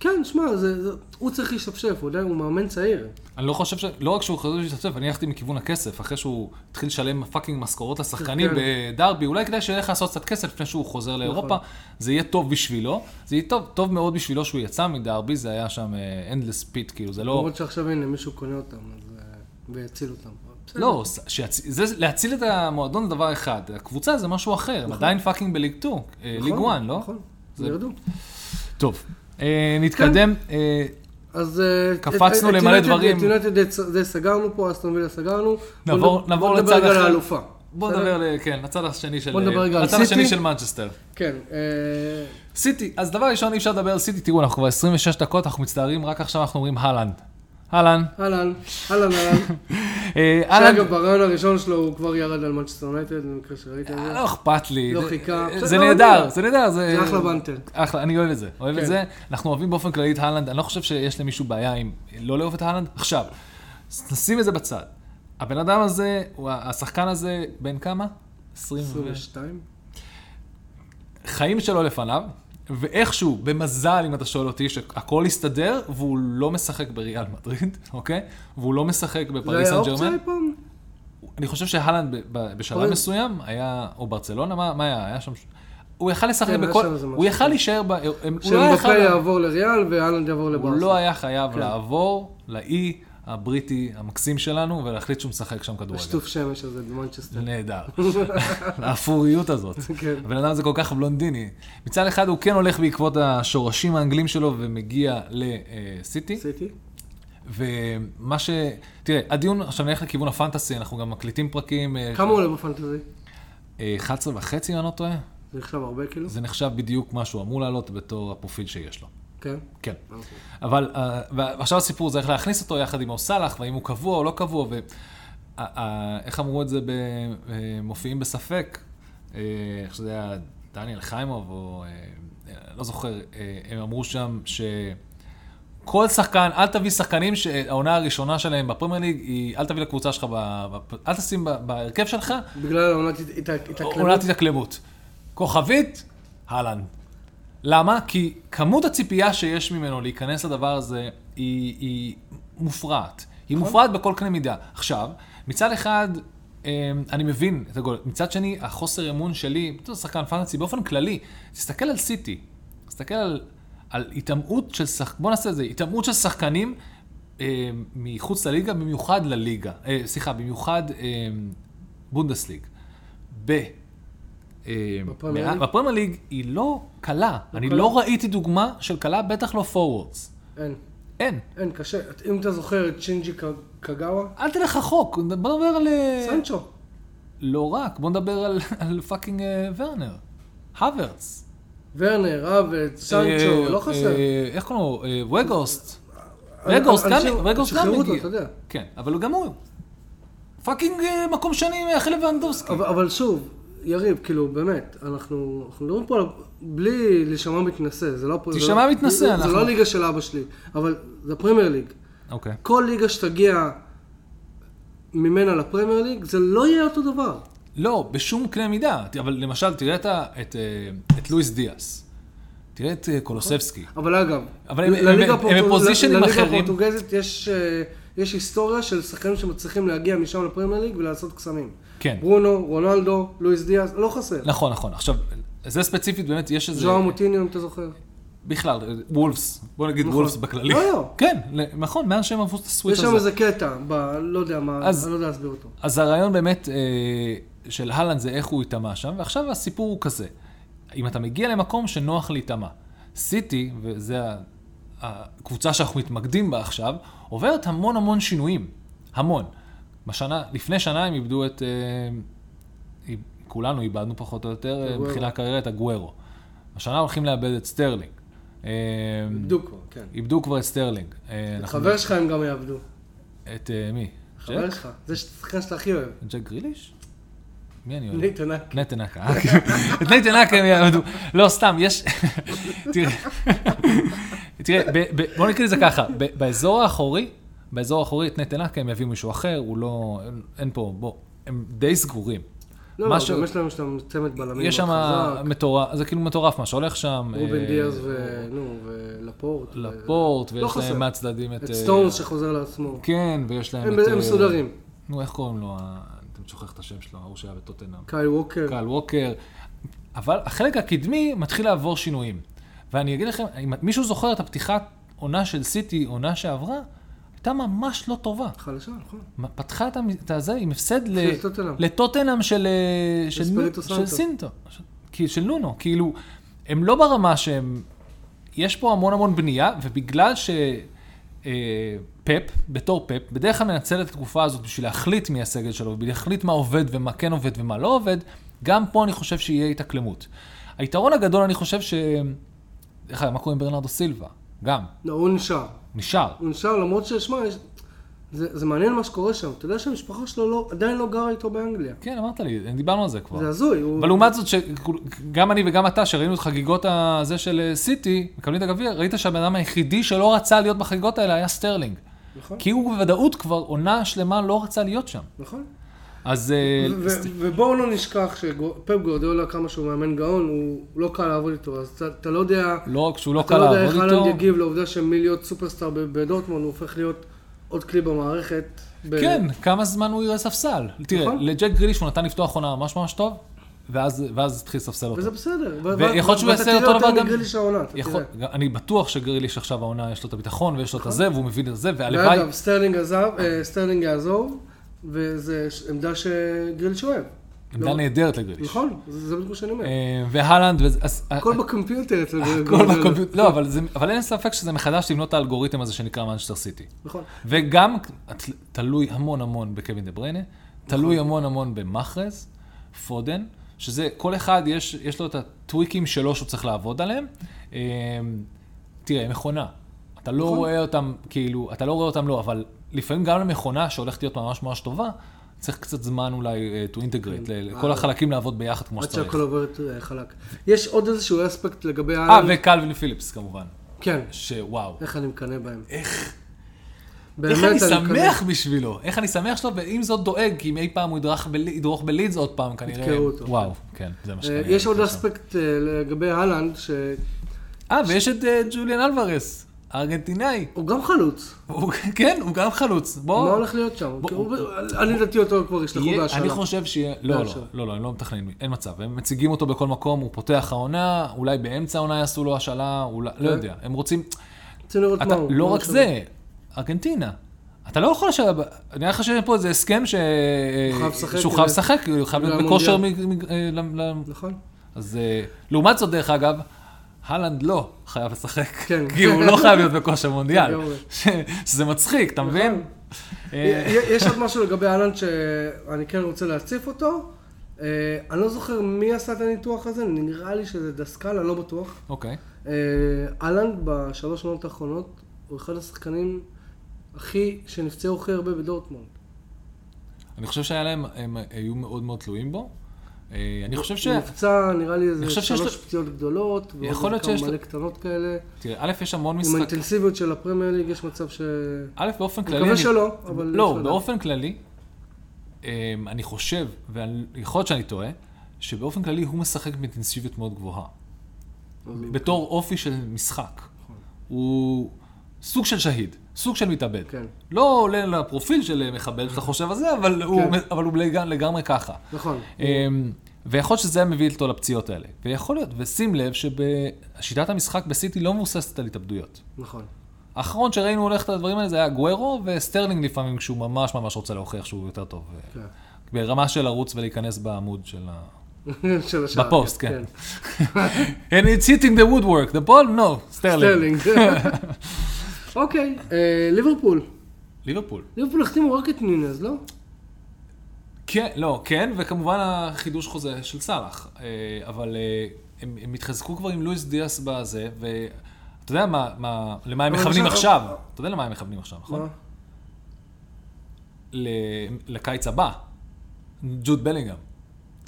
כן, שמע, זה- זה- הוא צריך להשתפשף, הוא עדיין הוא מאמן צעיר.
אני לא חושב ש... לא רק שהוא חוזר להשתתף, אני הלכתי מכיוון הכסף, אחרי שהוא התחיל לשלם פאקינג משכורות לשחקנים
כן. נכון.
בדרבי, אולי כדאי שילך לעשות קצת כסף לפני שהוא חוזר לאירופה, זה יהיה טוב בשבילו, זה יהיה טוב, טוב מאוד בשבילו שהוא יצא מדרבי, זה היה שם אנדלס פיט, כאילו, זה לא...
למרות שעכשיו הנה מישהו קונה אותם, אז... אה, ויציל אותם. בסדר.
לא, שיצ... זה, להציל את המועדון זה דבר אחד, הקבוצה זה משהו אחר, הם עדיין פאקינג בליג 2, אה, ליג
נכון,
1, לא?
נכון,
זה-
ירדו.
טוב, אה, נתקדם,
כן.
אה,
אז... אה, את-
קפצנו
את
למלא
יונייטד-
דברים.
את יונייטד זה סגרנו פה, אסטון וילה סגרנו.
נעבור-
בוא נ-
נעבור
בוא
לצד
נדבר רגע
אחר.
על האלופה.
בוא
בסדר?
נדבר, ל- כן, לצד השני של...
בוא נדבר רגע על
לצד השני
סיטי.
של מנצ'סטר.
כן. אה,
סיטי, אז דבר ראשון אי אפשר לדבר על סיטי, תראו, אנחנו כבר 26 דקות, אנחנו מצטערים, רק עכשיו אנחנו אומרים אהלנד. אהלן.
אהלן, אהלן, אהלן.
[laughs] אה, אהלן.
שאגב, ברעיון הראשון שלו הוא כבר ירד על מנצ'סטר יונייטד, במקרה שראית את זה.
לא אכפת לי.
לא
זה-
חיכה.
אה,
בסדר,
זה
לא
נהדר,
יודע.
זה נהדר. זה
זה אחלה בנטל.
אחלה, אני אוהב את זה. אוהב את
כן.
זה. אנחנו אוהבים באופן כללי את אהלנד, אני לא חושב שיש למישהו בעיה עם לא לאהוב את אהלנד. עכשיו, נשים את זה בצד. הבן אדם הזה, הוא ה- השחקן הזה, בן כמה? 20 ו...
22?
חיים שלו לפניו, ואיכשהו, במזל, אם אתה שואל אותי, שהכל הסתדר, והוא לא משחק בריאל מדריד, [laughs] אוקיי? והוא לא משחק
זה
בפריס
היה
סן
אופציה
ג'רמן.
אי פעם?
אני חושב שההלנד ב- ב- בשלב
אוי.
מסוים היה, או ברצלונה, מה מה היה? היה שם... הוא יכל לשחק
כן, היה
בכל...
שם איזה משהו.
הוא יכל להישאר ב... הם- הוא לא
שמבפה
יכל-
יעבור כן. לריאל ואלנד יעבור
הוא לא
לברסה.
היה חייב לעבור לאי הבריטי המקסים שלנו, ולהחליט שהוא משחק שם כדורגל.
השטוף שמש הזה במנצ'סטר. [laughs]
נהדר. האפוריות הזאת.
כן.
הבן אדם הזה כל כך בלונדיני. מצד אחד הוא כן הולך בעקבות השורשים האנגלים שלו ומגיע לסיטי.
סיטי?
ומה ש... תראה, הדיון עכשיו נלך לכיוון הפנטסי, אנחנו גם מקליטים פרקים... אה,
כמה הוא עולה בפנטזי?
אה, 11 וחצי, אם אני לא טועה.
זה נחשב הרבה כאילו?
זה נחשב בדיוק מה שהוא אמור לעלות בתור הפרופיל שיש לו.
כן.
כן.
אוקיי.
אבל אה, ועכשיו הסיפור זה איך להכניס אותו יחד עם אוסאלח, והאם הוא קבוע או לא קבוע, ואיך אמרו את זה במופיעים בספק, אה, איך שזה היה דניאל חיימוב, או אה, לא זוכר, אה, הם אמרו שם ש... כל שחקן, אל תביא שחקנים שהעונה הראשונה שלהם בפרמייר ליג היא, אל תביא לקבוצה שלך, ב- ב- אל תשים ב- בהרכב שלך
בגלל העונת הת- הת- התאקלמות.
עונת התאקלמות. כוכבית, אהלן. למה? כי כמות הציפייה שיש ממנו להיכנס לדבר הזה היא, היא מופרעת. היא מופרעת בכל קנה מידה. עכשיו, מצד אחד, אמ, אני מבין את הגול. מצד שני, החוסר אמון שלי, אתה יודע, שחקן פנטסי, באופן כללי, תסתכל על סיטי, תסתכל על, על התעמעות של שחקנים, בוא נעשה את זה, התעמעות של שחקנים אה, מחוץ לליגה, במיוחד לליגה, אה, סליחה, במיוחד אה, בונדסליג. ב... אה,
בפרמייר
מה-
ליג?
בפרמייר ליג היא לא קלה. אני
קלה.
לא ראיתי דוגמה של קלה, בטח לא פורוורדס.
אין,
אין.
אין, קשה. את- אם אתה זוכר את שינג'י ק- קגאווה?
אל תלך רחוק, בוא נדבר על... אה,
סנצ'ו.
לא רק, בוא נדבר על- [laughs] על פאקינג אה, ורנר. הוורץ.
ורנר, רביץ,
אה,
סנצ'ו, לא חסר.
אה, איך קוראים לו? אה, וגורסט.
אנ-
רגע, אוסקני-
אנשים-
רגע, אוסקני
שחררו אותו,
הגיע.
אתה יודע.
כן, אבל גם הוא. פאקינג אה, מקום שני מאחל לבנדובסקי.
אבל, אבל שוב, יריב, כאילו, באמת, אנחנו, אנחנו מדברים פה על... בלי להישמע מתנשא, זה לא... הפר-
תישמע
זה לא-
מתנשא,
זה,
אנחנו-
זה לא ליגה של אבא שלי, אבל זה פרמייר ליג.
אוקיי.
כל ליגה שתגיע ממנה לפרמייר ליג, זה לא יהיה אותו דבר.
לא, בשום קנה מידה. ת- אבל למשל, תראה את ה- את, אה, את לואיס דיאס. תראה את אה, קולוסבסקי.
אבל אגב,
אבל הם-
ל- לליגה
הם- הם
הפורטו-
בפוזיישנים
ל-
אחרים.
לליגה הפורטוגזית יש, אה, יש היסטוריה של שחקנים שמצליחים להגיע משם לפרמייר ליג ולעשות קסמים.
כן.
ברונו, רונלדו, לואיס דיאז, לא חסר.
נכון, נכון. עכשיו, זה ספציפית, באמת, יש איזה...
ז'ואר מוטיניו, אם אתה זוכר.
בכלל, אה, וולפס. בוא נגיד
נכון.
וולפס בכללי.
לא, לא.
כן, ל- נכון, מאז שהם עברו את הסוויץ'
יש שם
הזה.
איזה קטע, ב... לא יודע מה,
אז-
אני לא יודע להסביר אותו.
אז הרעיון באמת, אה, של הלנד זה איך הוא ייטמע שם, ועכשיו הסיפור הוא כזה. אם אתה מגיע למקום שנוח להיטמע, סיטי, וזה ה- הקבוצה שאנחנו מתמקדים בה עכשיו, עוברת המון המון שינויים. המון. בשנה, לפני שנה הם איבדו את... אה, כולנו איבדנו פחות או יותר, אה,
הגוארו.
בתחילת הקריירה, את הגוורו. השנה הולכים לאבד את סטרלינג. אה,
איבדו כבר, כן.
איבדו כבר את סטרלינג. אה, אנחנו-
חבר שלך הם גם יעבדו.
את אה, מי?
חבר
ג'ק?
שלך. זה שחקן שאתה הכי אוהב.
ג'ק גריליש? מי אני אוהב?
ניתן אק.
נטן אקה. אה, כן. את נטן אקה הם יעמדו. לא, סתם, יש... תראה, תראה, ב- ב- בוא נקרא לזה ככה, ב- באזור האחורי, באזור האחורי את נטן אקה הם יביאו מישהו אחר, הוא לא... אין- אין פה, בוא, הם די סגורים.
לא, לא,
משהו-
גם יש לנו שם צמד בלמים.
יש שם
מאוד לא חזק.
מטורף, זה כאילו מטורף מה שהולך שם.
רובן
אה,
דיאז ו... נו, ולפורט. ו-
לפורט,
לא
ויש
חסר.
להם מהצדדים את...
את
אה,
סטונס שחוזר לעצמו.
כן, ויש להם
הם
את...
הם
אה,
מסודרים.
נו, איך קוראים לו? ה- אתם שוכח את השם שלו, ההוא שהיה בטוטנאם.
קייל ווקר.
קל ווקר, אבל החלק הקדמי מתחיל לעבור שינויים. ואני אגיד לכם, אם מישהו זוכר את הפתיחת עונה של סיטי, עונה שעברה, הייתה ממש לא טובה.
חלשה, נכון.
פתחה את המ- את הזה עם הפסד ל-
של טוטנהאם.
לטוטנאם של, אה, של, נו-
אספיריטו
של
סנטו.
סינטו, של- כי- של נונו. כאילו, הם לא ברמה שהם... יש פה המון המון בנייה, ובגלל ש... אה, פפ, בתור פפ, בדרך כלל מנצל את התקופה הזאת בשביל להחליט מי הסגל שלו, בשביל להחליט מה עובד ומה כן עובד ומה לא עובד, גם פה אני חושב שיהיה התאקלמות. היתרון הגדול, אני חושב ש... דרך אגב, מה קורה עם ברנרדו סילבה? גם,
לא, הוא נשאר.
נשאר.
הוא נשאר למרות ששמע, יש- זה זה מעניין מה שקורה שם. אתה יודע שהמשפחה שלו לא- עדיין לא גרה איתו באנגליה.
כן, אמרת לי, דיברנו על זה כבר.
זה הזוי. הוא-
אבל לעומת זאת, שגם אני וגם אתה, שראינו את חגיגות הזה של אה, סיטי, מקבלים את הגביע, ראית שהבן אדם היחידי שלא רצה להיות בחגיגות האלה היה סטרלינג.
נכון,
כי הוא בוודאות כבר עונה שלמה לא רצה להיות שם.
נכון.
אז... אה,
ו-
סט-
ובואו לא נשכח שפפ גורדולה, כמה שהוא מאמן גאון, הוא לא קל לעבוד איתו. אז אתה- אתה לא יודע...
לא רק שהוא לא
אתה
קל
לא יודע איך
לעבוד איתו.
אהלנד יגיב לעובדה שמלהיות סופרסטאר ב- בדורטמונד הוא הופך להיות עוד כלי במערכת. ב-
כן, כמה זמן הוא יראה ספסל. תראה,
אה, נכון.
לג'ק גריליש הוא נתן לפתוח עונה ממש ממש טוב, ואז ואז התחיל לספסל אותו.
וזה בסדר. ו-
ויכול להיות
ו-
שהוא
ואתה
יעשה אותו
תראה
דבר
יותר
גם-
מגריליש העונה, אתה
יכול-
תראה. נכון.
אני בטוח שגריליש עכשיו העונה יש לו את הביטחון ויש לו את הזה, והוא מבין את זה, והלוואי...
ואגב, סטרלינג עזב, אה, סטרלינג יעזוב, וזו עמדה שגריליש אוהב.
עמדה
לא-
נהדרת לגריליש.
נכון, זה זה בדיוק מה שאני אומר.
אה, והלנד, וזה- אז-
הכל בקומפיוטר אצל
הכל
גורדולה.
בקומפיוטר, לא, אבל, זה, אבל אין ספק שזה מחדש לבנות את האלגוריתם הזה שנקרא מנצ'סטר סיטי.
נכון.
וגם תל- תלוי המון המון בקווין דה בריינה, תלוי
נכון.
המון המון במחרז, פודן, שזה, כל אחד יש, יש לו את הטוויקים שלו שהוא צריך לעבוד עליהם. אה, תראה, מכונה. אתה לא
נכון.
רואה אותם, כאילו, אתה לא רואה אותם לא, אבל לפעמים גם למכונה שהולכת להיות ממש ממש טובה, צריך קצת זמן אולי אה, to integrate, לכל החלקים לעבוד ביחד כמו
כן, עד
שצריך.
שהכל עובר את, אה, חלק. יש עוד איזשהו אספקט לגבי...
אה,
אהלנד.
וקלווין פיליפס כמובן,
כן,
שוואו.
איך אני מקנא בהם. איך?
איך אני שמח בשבילו, איך אני שמח שלו, ועם זאת דואג, כי אם אי פעם הוא ידרוך בל- ידרוך בלידס עוד פעם, כנראה...
יתקעו אותו. אה,
וואו, כן, זה מה שכנראה.
יש עוד
יקרה שם.
אספקט אה, לגבי אהלנד, שהוא
אה, ויש את אה, ג'וליאן אלוורס, הארגנטינאי.
גם חלוץ.
הוא- כן, הוא גם חלוץ.
מה
בוא...
הולך להיות שם?
בוא-
כי הוא- אני לדעתי אותו כבר ישלחו
יהיה-
בהשאלה.
אני חושב שיהיה, לא, לא,
בהשאלה.
לא, לא, הם לא מתכננים, אין מצב, הם מציגים אותו בכל מקום, הוא פותח העונה, אולי באמצע העונה יעשו לו השאלה, אולי, לא
אה?
יודע, הם רוצים,
רוצים לראות מה
אתה,
הוא.
לא
מה
רק
הוא
זה, ארגנטינה. אתה לא יכול לשבת, נראה לך שיש פה איזה הסכם ש...
חייב לשחק
שהוא חייב
כדי-
לשחק, הוא חייב להיות
בגלל
בכושר,
המונדיאל.
מ- מ- אה, ל- ל-
שם. נכון.
אז אה, לעומת זאת, דרך אגב, הלנד לא חייב לשחק,
כן.
[laughs] כי הוא לא חייב להיות בכושר מונדיאל,
לגמרי. נכון.
ש- שזה מצחיק, אתה מבין? אה,
יש עוד משהו לגבי אהלנד שאני כן רוצה להציף אותו. אה, אני לא זוכר מי עשה את הניתוח הזה, נראה לי שזה דסקל, אני לא בטוח.
אוקיי,
אה, אהלנד בשלוש שנות האחרונות הוא אחד השחקנים הכי, שנפצעו הכי הרבה בדורטמונד.
אני חושב שהיה להם, הם היו מאוד מאוד תלויים בו. אה, אני חושב ש...
הוא נפצע, נראה לי
אני
איזה
חושב שיש
שלוש
לו-
פציעות גדולות,
יכול
ועוד
להיות שיש
כמה
לו-
מלא קטנות כאלה.
תראה, א', יש המון
עם
משחקים.
האינטנסיביות של הפרמייר ליג יש מצב ש...
א', באופן כללי...
מקווה
אני-
שלא, אבל... אי
לא,
אפשר
באופן כללי, אמ, אני חושב, ויכול להיות שאני טועה, שבאופן כללי הוא משחק באינטנסיביות מאוד גבוהה.
לדעת.
בתור אופי של משחק. הוא סוג של שהיד, סוג של מתאבד.
כן.
לא עולה לפרופיל של מחבל שאתה חושב על זה, אבל הוא-
כן.
אבל הוא לג- לגמרי ככה.
נכון.
אמ, ויכול להיות שזה היה מביא אותו לפציעות האלה. ויכול להיות, ושים לב ששיטת המשחק בסיטי לא מבוססת על התאבדויות.
נכון.
האחרון שראינו הולך את הדברים האלה זה היה גוורו וסטרלינג לפעמים כשהוא ממש ממש רוצה להוכיח שהוא יותר טוב. אה,
כן. [laughs]
ברמה של לרוץ ולהיכנס בעמוד של ה...
של השאר.
בפוסט, כן. And it's hitting the woodwork, the ball? No, סטרלינג.
סטרלינג. [laughs] אוקיי, אה, ליברפול.
ליברפול.
ליברפול החתימו רק את נינז, לא?
כן, לא, כן, וכמובן החידוש חוזה של סאלח. אה, אבל אה, הם, הם התחזקו כבר עם לואיס דיאס בזה, ואתה יודע מה, מה, למה הם
אבל
מכוונים
עכשיו-
עכשיו? אתה יודע למה הם מכוונים עכשיו, נכון?
מה?
ל- לקיץ הבא, ג'וד בלינגהם.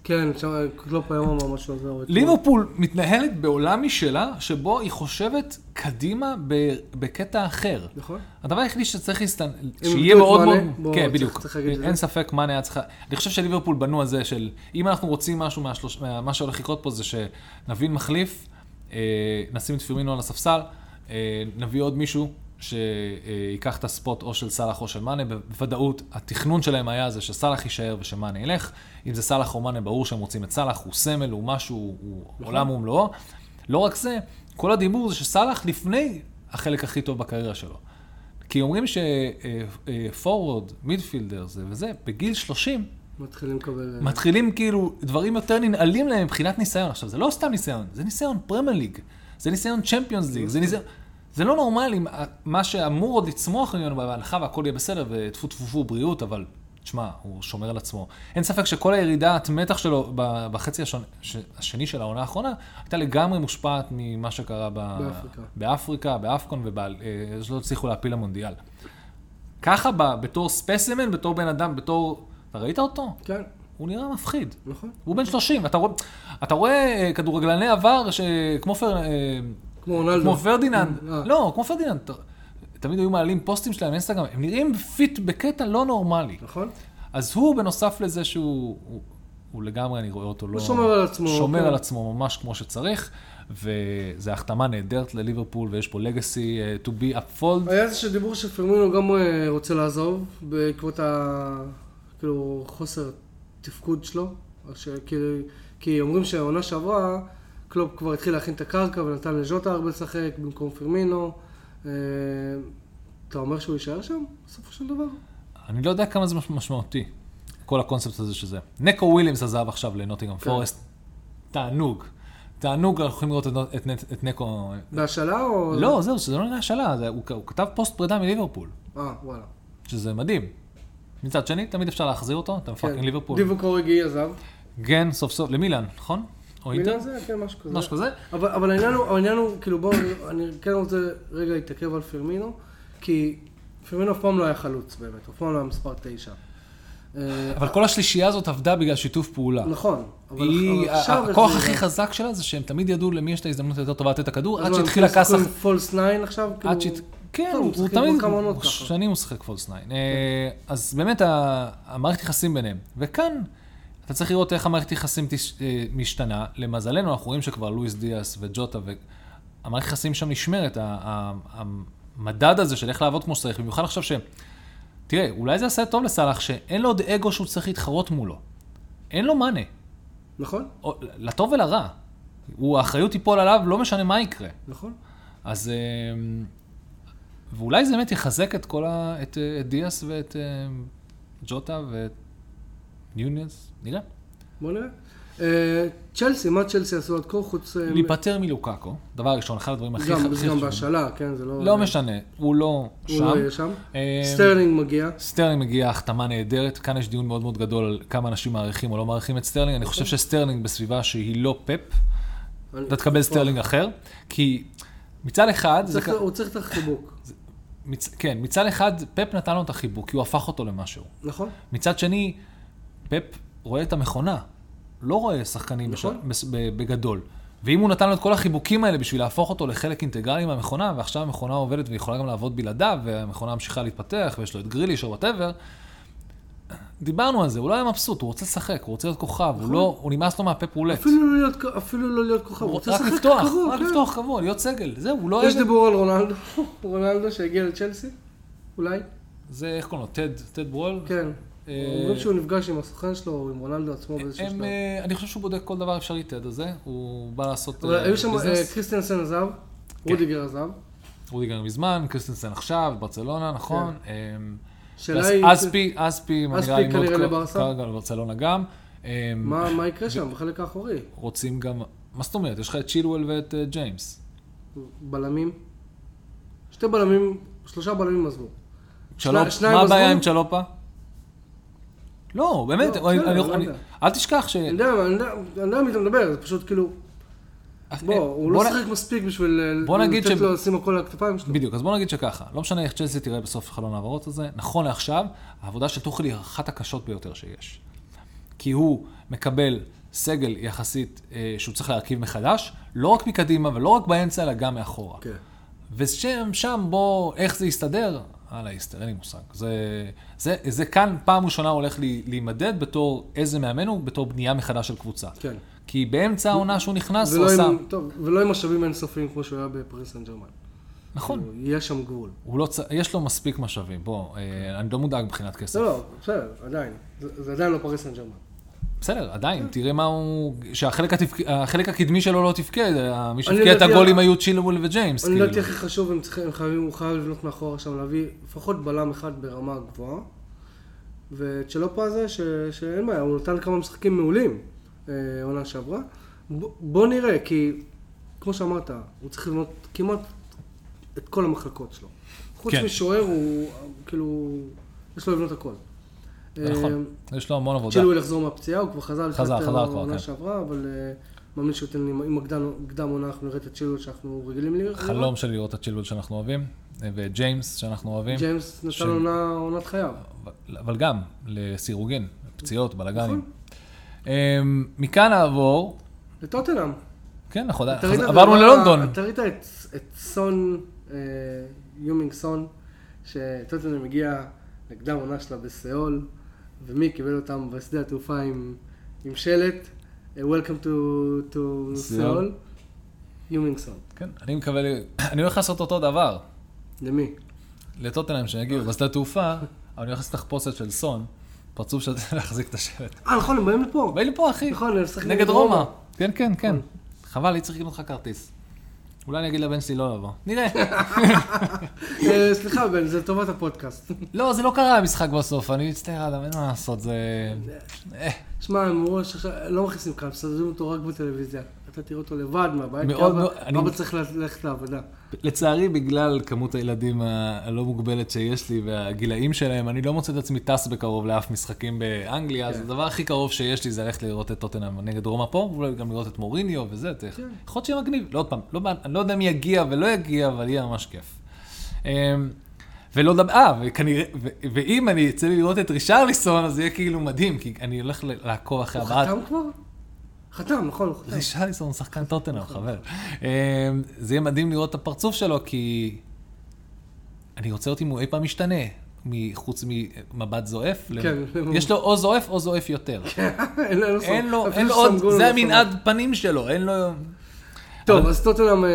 כן, שם קלופ היום אמר משהו על זה. או אתמול.
ליברפול מתנהלת בעולם משלה, שבו היא חושבת קדימה ב- בקטע אחר.
נכון.
הדבר היחידי שצריך להסתנ...
איבדו
שיהיה
את
מאוד מאוד...
מאנה, בוא,
כן,
צריך-
בדיוק.
צריך להגיד את זה.
אין ספק מאנה היה צריכה... אני חושב שליברפול בנו על זה של... אם אנחנו רוצים משהו מהשלוש... מה- מה שהולך לקרות פה זה שנבין מחליף, אה, נשים את פירמינו על הספסל, אה, נביא עוד מישהו שיקח את הספוט או של סאלח או של מאנה. בוודאות, התכנון שלהם היה זה שסאלח יישאר ושמאנה ילך. אם זה סאלח או מאנה, ברור שהם רוצים את סאלח, הוא סמל, הוא משהו, הוא
נכון.
עולם ומלואו. לא רק זה, כל הדיבור זה שסאלח לפני החלק הכי טוב בקריירה שלו. כי אומרים אה, שפורוורד, מידפילדר זה וזה, בגיל 30,
מתחילים לקבל... אה,
מתחילים כאילו, דברים יותר ננעלים להם מבחינת ניסיון. עכשיו, זה לא סתם ניסיון, זה ניסיון פרמייר ליג, זה ניסיון צ'מפיונס ליג, זה ניסיון... זה לא נורמלי, מה- מה שאמור עוד לצמוח ממנו בהנחה והכל יהיה בסדר, וטפו טפו טפו בריאות, אבל תשמע, הוא שומר על עצמו. אין ספק שכל הירידת מתח שלו ב- בחצי השני, השני של העונה האחרונה, הייתה לגמרי מושפעת ממה שקרה ב...
באפריקה.
באפריקה, באפקון ובעל... אה, שלא הצליחו להפיל למונדיאל. ככה, ב- בתור ספסימן, בתור בן אדם, בתור... אתה ראית אותו?
כן,
הוא נראה מפחיד.
נכון.
הוא בן 30, אתה רואה, אתה רואה אה, כדורגלני עבר שכמו פר, אה,
כמו רונלדו.
כמו פרדיננד,
אה.
לא, כמו פרדיננד, ת- תמיד היו מעלים פוסטים שלהם באינסטגרם, הם נראים פיט בקטע לא נורמלי.
נכון?
אז הוא, בנוסף לזה שהוא, הוא, הוא לגמרי, אני רואה אותו לא...
שומר על עצמו,
שומר
כן.
על עצמו ממש כמו שצריך, וזו החתמה נהדרת לליברפול, ויש פה לגאסי to be upfold.
היה איזשהו דיבור שפרמינו גם אה, רוצה לעזוב בעקבות ה... כאילו חוסר תפקוד שלו. אז ש- כאילו- כי אומרים שהעונה שעברה, קלופ כבר התחיל להכין את הקרקע ונתן לז'וטה הרבה לשחק במקום פרמינו. אה, אתה אומר שהוא יישאר שם? בסופו של דבר?
אני לא יודע כמה זה מש- משמעותי, כל הקונספט הזה שזה. נקו וויליאמס עזב עכשיו לנוטינגרם
כן.
פורסט. תענוג. תענוג, אנחנו יכולים לראות את נו- את נט- את נקו...
בהשאלה או...
לא, זהו, שזה לא נראה השאלה, זה- הוא כ- הוא כתב פוסט פרידה מליברפול,
אה, וואלה.
שזה מדהים. מצד שני, תמיד אפשר להחזיר אותו, אתה
כן.
מפאקינג ליברפול.
דיבו קורגי עזב.
גן סוף סוף, למילאן, נכון? או אינטר?
מיליון זה, כן, משהו כזה.
משהו כזה.
אבל, אבל העניין הוא, העניין הוא, כאילו בואו, אני כן רוצה רגע להתעכב על פרמינו, כי פרמינו אף פעם לא היה חלוץ באמת, אף פעם לא היה מספר תשע. אה,
אבל כל השלישייה הזאת עבדה בגלל שיתוף פעולה.
נכון, אבל
היא,
אבל עכשיו...
ה- הכוח
איך זה
הכי
נראה?
חזק שלה זה שהם תמיד ידעו למי יש את ההזדמנות היותר טובה לתת את הכדור, עד
אז מה,
שהתחיל
הם
הכסח.
משחקים פולס 9 עכשיו?
עד
כאילו-
שהת... כן,
טוב,
הוא, הוא
משחקים כבר
תמיד,
כמה עונות
הוא
ככה. כן.
שנים הוא שחק פולס 9. אז באמת ה- המערכת יחסים ביניהם. וכאן אתה צריך לראות איך המערכת יחסים תש... אה, משתנה. למזלנו, אנחנו רואים שכבר לואיס דיאס וג'וטה, והמערכת יחסים שם נשמרת. ה- ה- המדד הזה של איך לעבוד כמו שצריך, במיוחד עכשיו ש... תראה, אולי זה יעשה טוב לסאלח, שאין לו עוד אגו שהוא צריך להתחרות מולו. אין לו מאנה.
נכון,
או- לטוב ולרע. הוא, האחריות תיפול עליו, לא משנה מה יקרה.
נכון.
אז... אמ, ואולי זה באמת יחזק את כל ה... את, אה, את דיאס ואת אמ, ג'וטה ואת ניוניאס, נראה.
בוא נראה. אה, צ'לסי, מה צ'לסי עשו עד כה חוץ... אה,
להיפטר מלוקאקו, דבר ראשון, אחד הדברים הכי
גם,
הכי
גם
חשובים.
בהשאלה, כן, זה לא...
לא משנה, הוא לא
הוא
שם.
לא יהיה שם.
אמ,
סטרלינג מגיע.
סטרלינג מגיע החתמה נהדרת, כאן יש דיון מאוד מאוד גדול על כמה אנשים מעריכים או לא מעריכים את סטרלינג, אני חושב שסטרלינג בסביבה שהיא לא פאפ, אתה תקבל סטרלינג אחר, כי מצד אחד, זה
צריך-
כ-
הוא צריך את החיבוק,
מצ- כן, מצד אחד פאפ נתן לו את החיבוק, כי הוא הפך אותו למשהו.
נכון?
מצד שני, פפ רואה את המכונה, לא רואה שחקנים בש...
נכון.
בס- ב- בגדול. ואם הוא נתן לו את כל החיבוקים האלה בשביל להפוך אותו לחלק אינטגרלי מהמכונה, ועכשיו המכונה עובדת ויכולה גם לעבוד בלעדיו, והמכונה ממשיכה להתפתח, ויש לו את גריליש או וואטאבר, דיברנו על זה, הוא לא היה מבסוט, הוא רוצה לשחק, הוא רוצה להיות כוכב, הוא לא, הוא נמאס לו מהפפ רולט.
נכון. אפילו לא להיות, אפילו לא להיות כוכב, הוא רוצה
רק
לשחק
לפתוח,
קרוב,
רק
כן.
לפתוח קבוע, להיות סגל, זהו, הוא לא...
יש
אוהב-
דיבור על רונלדו, [laughs] רונלדו שהגיע לצ'לסי, אולי,
זה, איך קוראים לו, טד, טד ברול?
כן.
אה,
אומרים שהוא נפגש עם הסוכן שלו, או עם רונלדו עצמו באיזשהו
הם,
שלב.
אה, אני חושב שהוא בודק כל דבר אפשרי, טד הזה, הוא בא לעשות...
אבל
אה,
היו שם, אה,
ביזנס. כן.
קריסטיאנסן עזב, רודיגר עזב,
רודיגר מזמן, קריסטנסן עכשיו, ברצלונה, נכון. אמ,
השאלה
אז
כן. היא-
אספי,
אספי
אספי, נראה לי מאוד
כנראה
קרוב-
לברסה?
כרגע לברצלונה גם. אה,
מה מה יקרה שם בחלק האחורי?
רוצים גם... מה זאת אומרת? יש לך את צ'ילואל ואת אה, ג'יימס.
בלמים? שתי בלמים, שלושה בלמים עזבו.
כן. צ'לופ,
שניים
מה
עזבו?
הבעיה עם צ'לופה? לא, באמת,
לא,
אני-
בסדר,
אני-
לא
אני-
יודע.
אל תשכח ש...
אני יודע, אני יודע- אני יודע על מי אתה מדבר, זה פשוט כאילו, בוא, הוא לא
אה, בוא נ-
שיחק מספיק בשביל אה,
בוא נגיד
לתת
ש-
לו לשים הכל על הכתפיים שלו.
בדיוק, אז בוא נגיד שככה, לא משנה איך צ'לסי תראה בסוף חלון ההעברות הזה, נכון לעכשיו, העבודה של טוחל היא אחת הקשות ביותר שיש. כי הוא מקבל סגל יחסית אה, שהוא צריך להרכיב מחדש, לא רק מקדימה ולא רק באמצע, אלא גם מאחורה.
כן.
ושם, שם, בוא, איך זה יסתדר? וואלה, יסתדר, אין לי מושג. זה, זה, זה כאן פעם ראשונה הולך לי, להימדד בתור איזה מאמן הוא, בתור בנייה מחדש של קבוצה.
כן. לא
כי באמצע העונה שהוא נכנס, הוא
ולא
עשה...
עם- טוב, ולא עם משאבים אינסופיים כמו שהוא היה בפריס סן ג'רמן.
נכון.
כאילו, יש שם גבול.
הוא לא צ... יש לו מספיק משאבים, בוא, אה, אני לא מודאג מבחינת כסף.
לא, לא, בסדר, עדיין. זה זה עדיין לא פריס סן ג'רמן.
בסדר, עדיין, תראה מה הוא... שהחלק התפק... החלק הקדמי שלו לא תפקד, אה, מי שהפקיע את
לדעתי-
הגולים היו צ'ילבול וג'יימס,
לא אני לא
כאילו.
לדעתי הכי חשוב, הם צריכים, הם חייבים, הוא חייב לבנות מאחורה עכשיו, להביא לפחות בלם אחד ברמה גבוהה. וצ'לופה הזה, ש, שאין בעיה, הוא נתן כמה משחקים מעולים אה, עונה שעברה. ב, בוא נראה, כי כמו שאמרת, הוא צריך לבנות כמעט את כל המחלקות שלו. חוץ
כן.
משוער, הוא אה, כאילו, יש לו לבנות הכל.
זה
אה,
נכון, יש לו המון עבודה.
צ'ילואל יחזור מהפציעה, הוא כבר חזר
חזר, חזר כבר, כן.
העונה שעברה, אבל אה, מאמין שהוא ייתן לי, אם הקדם הקדם עונה אנחנו נראה את הצ'ילואל שאנחנו רגילים לראות.
חלום שלי לראות את צ'ילבול שאנחנו אוהבים, אה, ואת ג'יימס שאנחנו אוהבים,
ג'יימס
ש-
נתן עונה, עונת חייו.
אבל- אבל גם לסירוגין, פציעות,
נכון.
בלאגנים. אה, מכאן נעבור,
לטוטנאם.
כן, אנחנו
אתה
עדיין,
ראית
חז-
את
עברנו
הדבר-
ללונדון.
אתה ראית את, את סון, אה, יומינג סון, שטוטנאם הגיע לקדם עונה שלה בסיאול, ומי קיבל אותם בשדה התעופה עם, עם שלט, אה, Welcome to, to
סיאול.
סיאול, יומינג סון.
כן, אני מקווה, ל- [coughs] אני הולך לעשות אותו דבר.
למי?
לטוטנאם שהגיעו בשדה תעופה, אבל אני הולך לעשות תחפושת של סון, פרצוף שאתה [laughs] להחזיק את השלט.
אה, נכון, הם באים לפה.
בא לי פה אחי,
נכון, הם משחקים
נגד רומא. כן, כן, כן. חבל, הייתי צריך לקנות לך כרטיס. אולי אני אגיד לבן שלי לא לבוא. נראה.
אה, סליחה, בן, זה לטובת הפודקאסט.
לא, זה לא קרה המשחק בסוף, אני מצטער עליו, אין מה לעשות, זה... אה,
שמע, הם אמרו שעכשיו לא מכניסים כאן, מסדרים אותו רק בטלוויזיה. אתה תראה אותו לבד מהבית, כי
מאוד, מאוד,
אבא-
אני-
אבא צריך ללכת לעבודה.
לצערי, בגלל כמות הילדים ה- הלא מוגבלת שיש לי והגילאים שלהם, אני לא מוצא את עצמי טס בקרוב לאף משחקים באנגליה, אז הדבר הכי קרוב שיש לי זה ללכת לראות את טוטנאם נגד רומא פה, ואולי גם לראות את מוריניו וזה, אתה- יכול להיות שיהיה מגניב. לא, עוד פעם, לא, בא- אני לא יודע מי יגיע ולא יגיע, אבל יהיה ממש כיף. אמ, ולא לדבר, אה, וכנראה, ו- ואם אני אצא לי לראות את רישרליסון, אז זה יהיה כאילו מדהים, כי אני הולך ל- לעקוב אחרי
הוא
הבעת
חתם כבר? חתם, נכון, הוא
[laughs]
חתם.
רישליסון הוא שחקן טוטנאם,
נכון.
חבר. אה, זה יהיה מדהים לראות את הפרצוף שלו, כי אני רוצה לראות אם הוא אי פעם משתנה, מחוץ ממבט זועף. ל-
כן.
יש לו או זועף או זועף יותר.
אין לו-
אין לו,
אפילו
אין
שסנגול
לו עוד,
הוא
זה
לא
המנעד
שמע.
פנים שלו, אין לו...
טוב,
אבל-
אז טוטנאם, אה,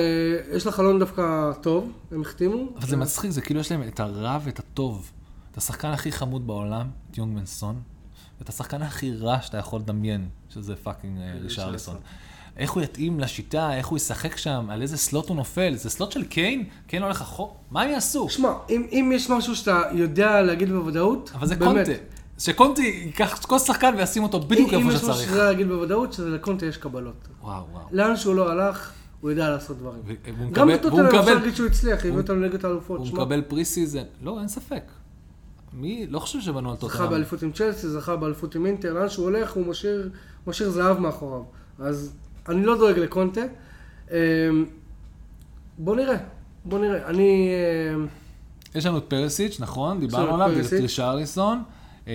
יש לה חלון דווקא טוב, הם החתימו.
אבל זה מצחיק, זה כאילו יש להם את הרע ואת הטוב. את השחקן הכי חמוד בעולם, את יונגמן סון, ואת השחקן הכי רע שאתה יכול לדמיין, שזה פאקינג אה, רישרליסון. איך הוא יתאים לשיטה, איך הוא ישחק שם, על איזה סלוט הוא נופל, זה סלוט של קיין? קיין הולך אחורה? מה הם יעשו?
שמע, אם אם יש משהו שאתה יודע להגיד בוודאות,
אבל זה
באמת.
קונטה. שקונטה ייקח כל שחקן וישים אותו
אם
בדיוק
אם
איפה
יש משהו שאתה
שצריך.
יודע להגיד בוודאות, שזה לקונטה יש קבלות.
וואו, וואו.
לאן שהוא לא הלך, הוא יודע לעשות דברים.
ו- והוא
גם
מקבל- והוא
בטוטנאם אפשר
מקבל-
להגיד שהוא הצליח, הביא אותנו נגד האלופות.
הוא
שמע,
מקבל פרי סיזן. לא, אין ספק. מי, לא חושב שבנו על
זכה
טוטנאם.
באליפות עם צ'לסי, זכה באליפות עם אינטר, לאן שהוא הולך הוא משאיר, משאיר זהב מאחוריו. אז אני לא דואג לקונטה. אמ, בוא נראה, בוא נראה. אני... אמ,
יש לנו את פרסיץ', נכון,
לנו את
דיברנו עליו,
פרסיץ'.
את רישרליסון. אמ,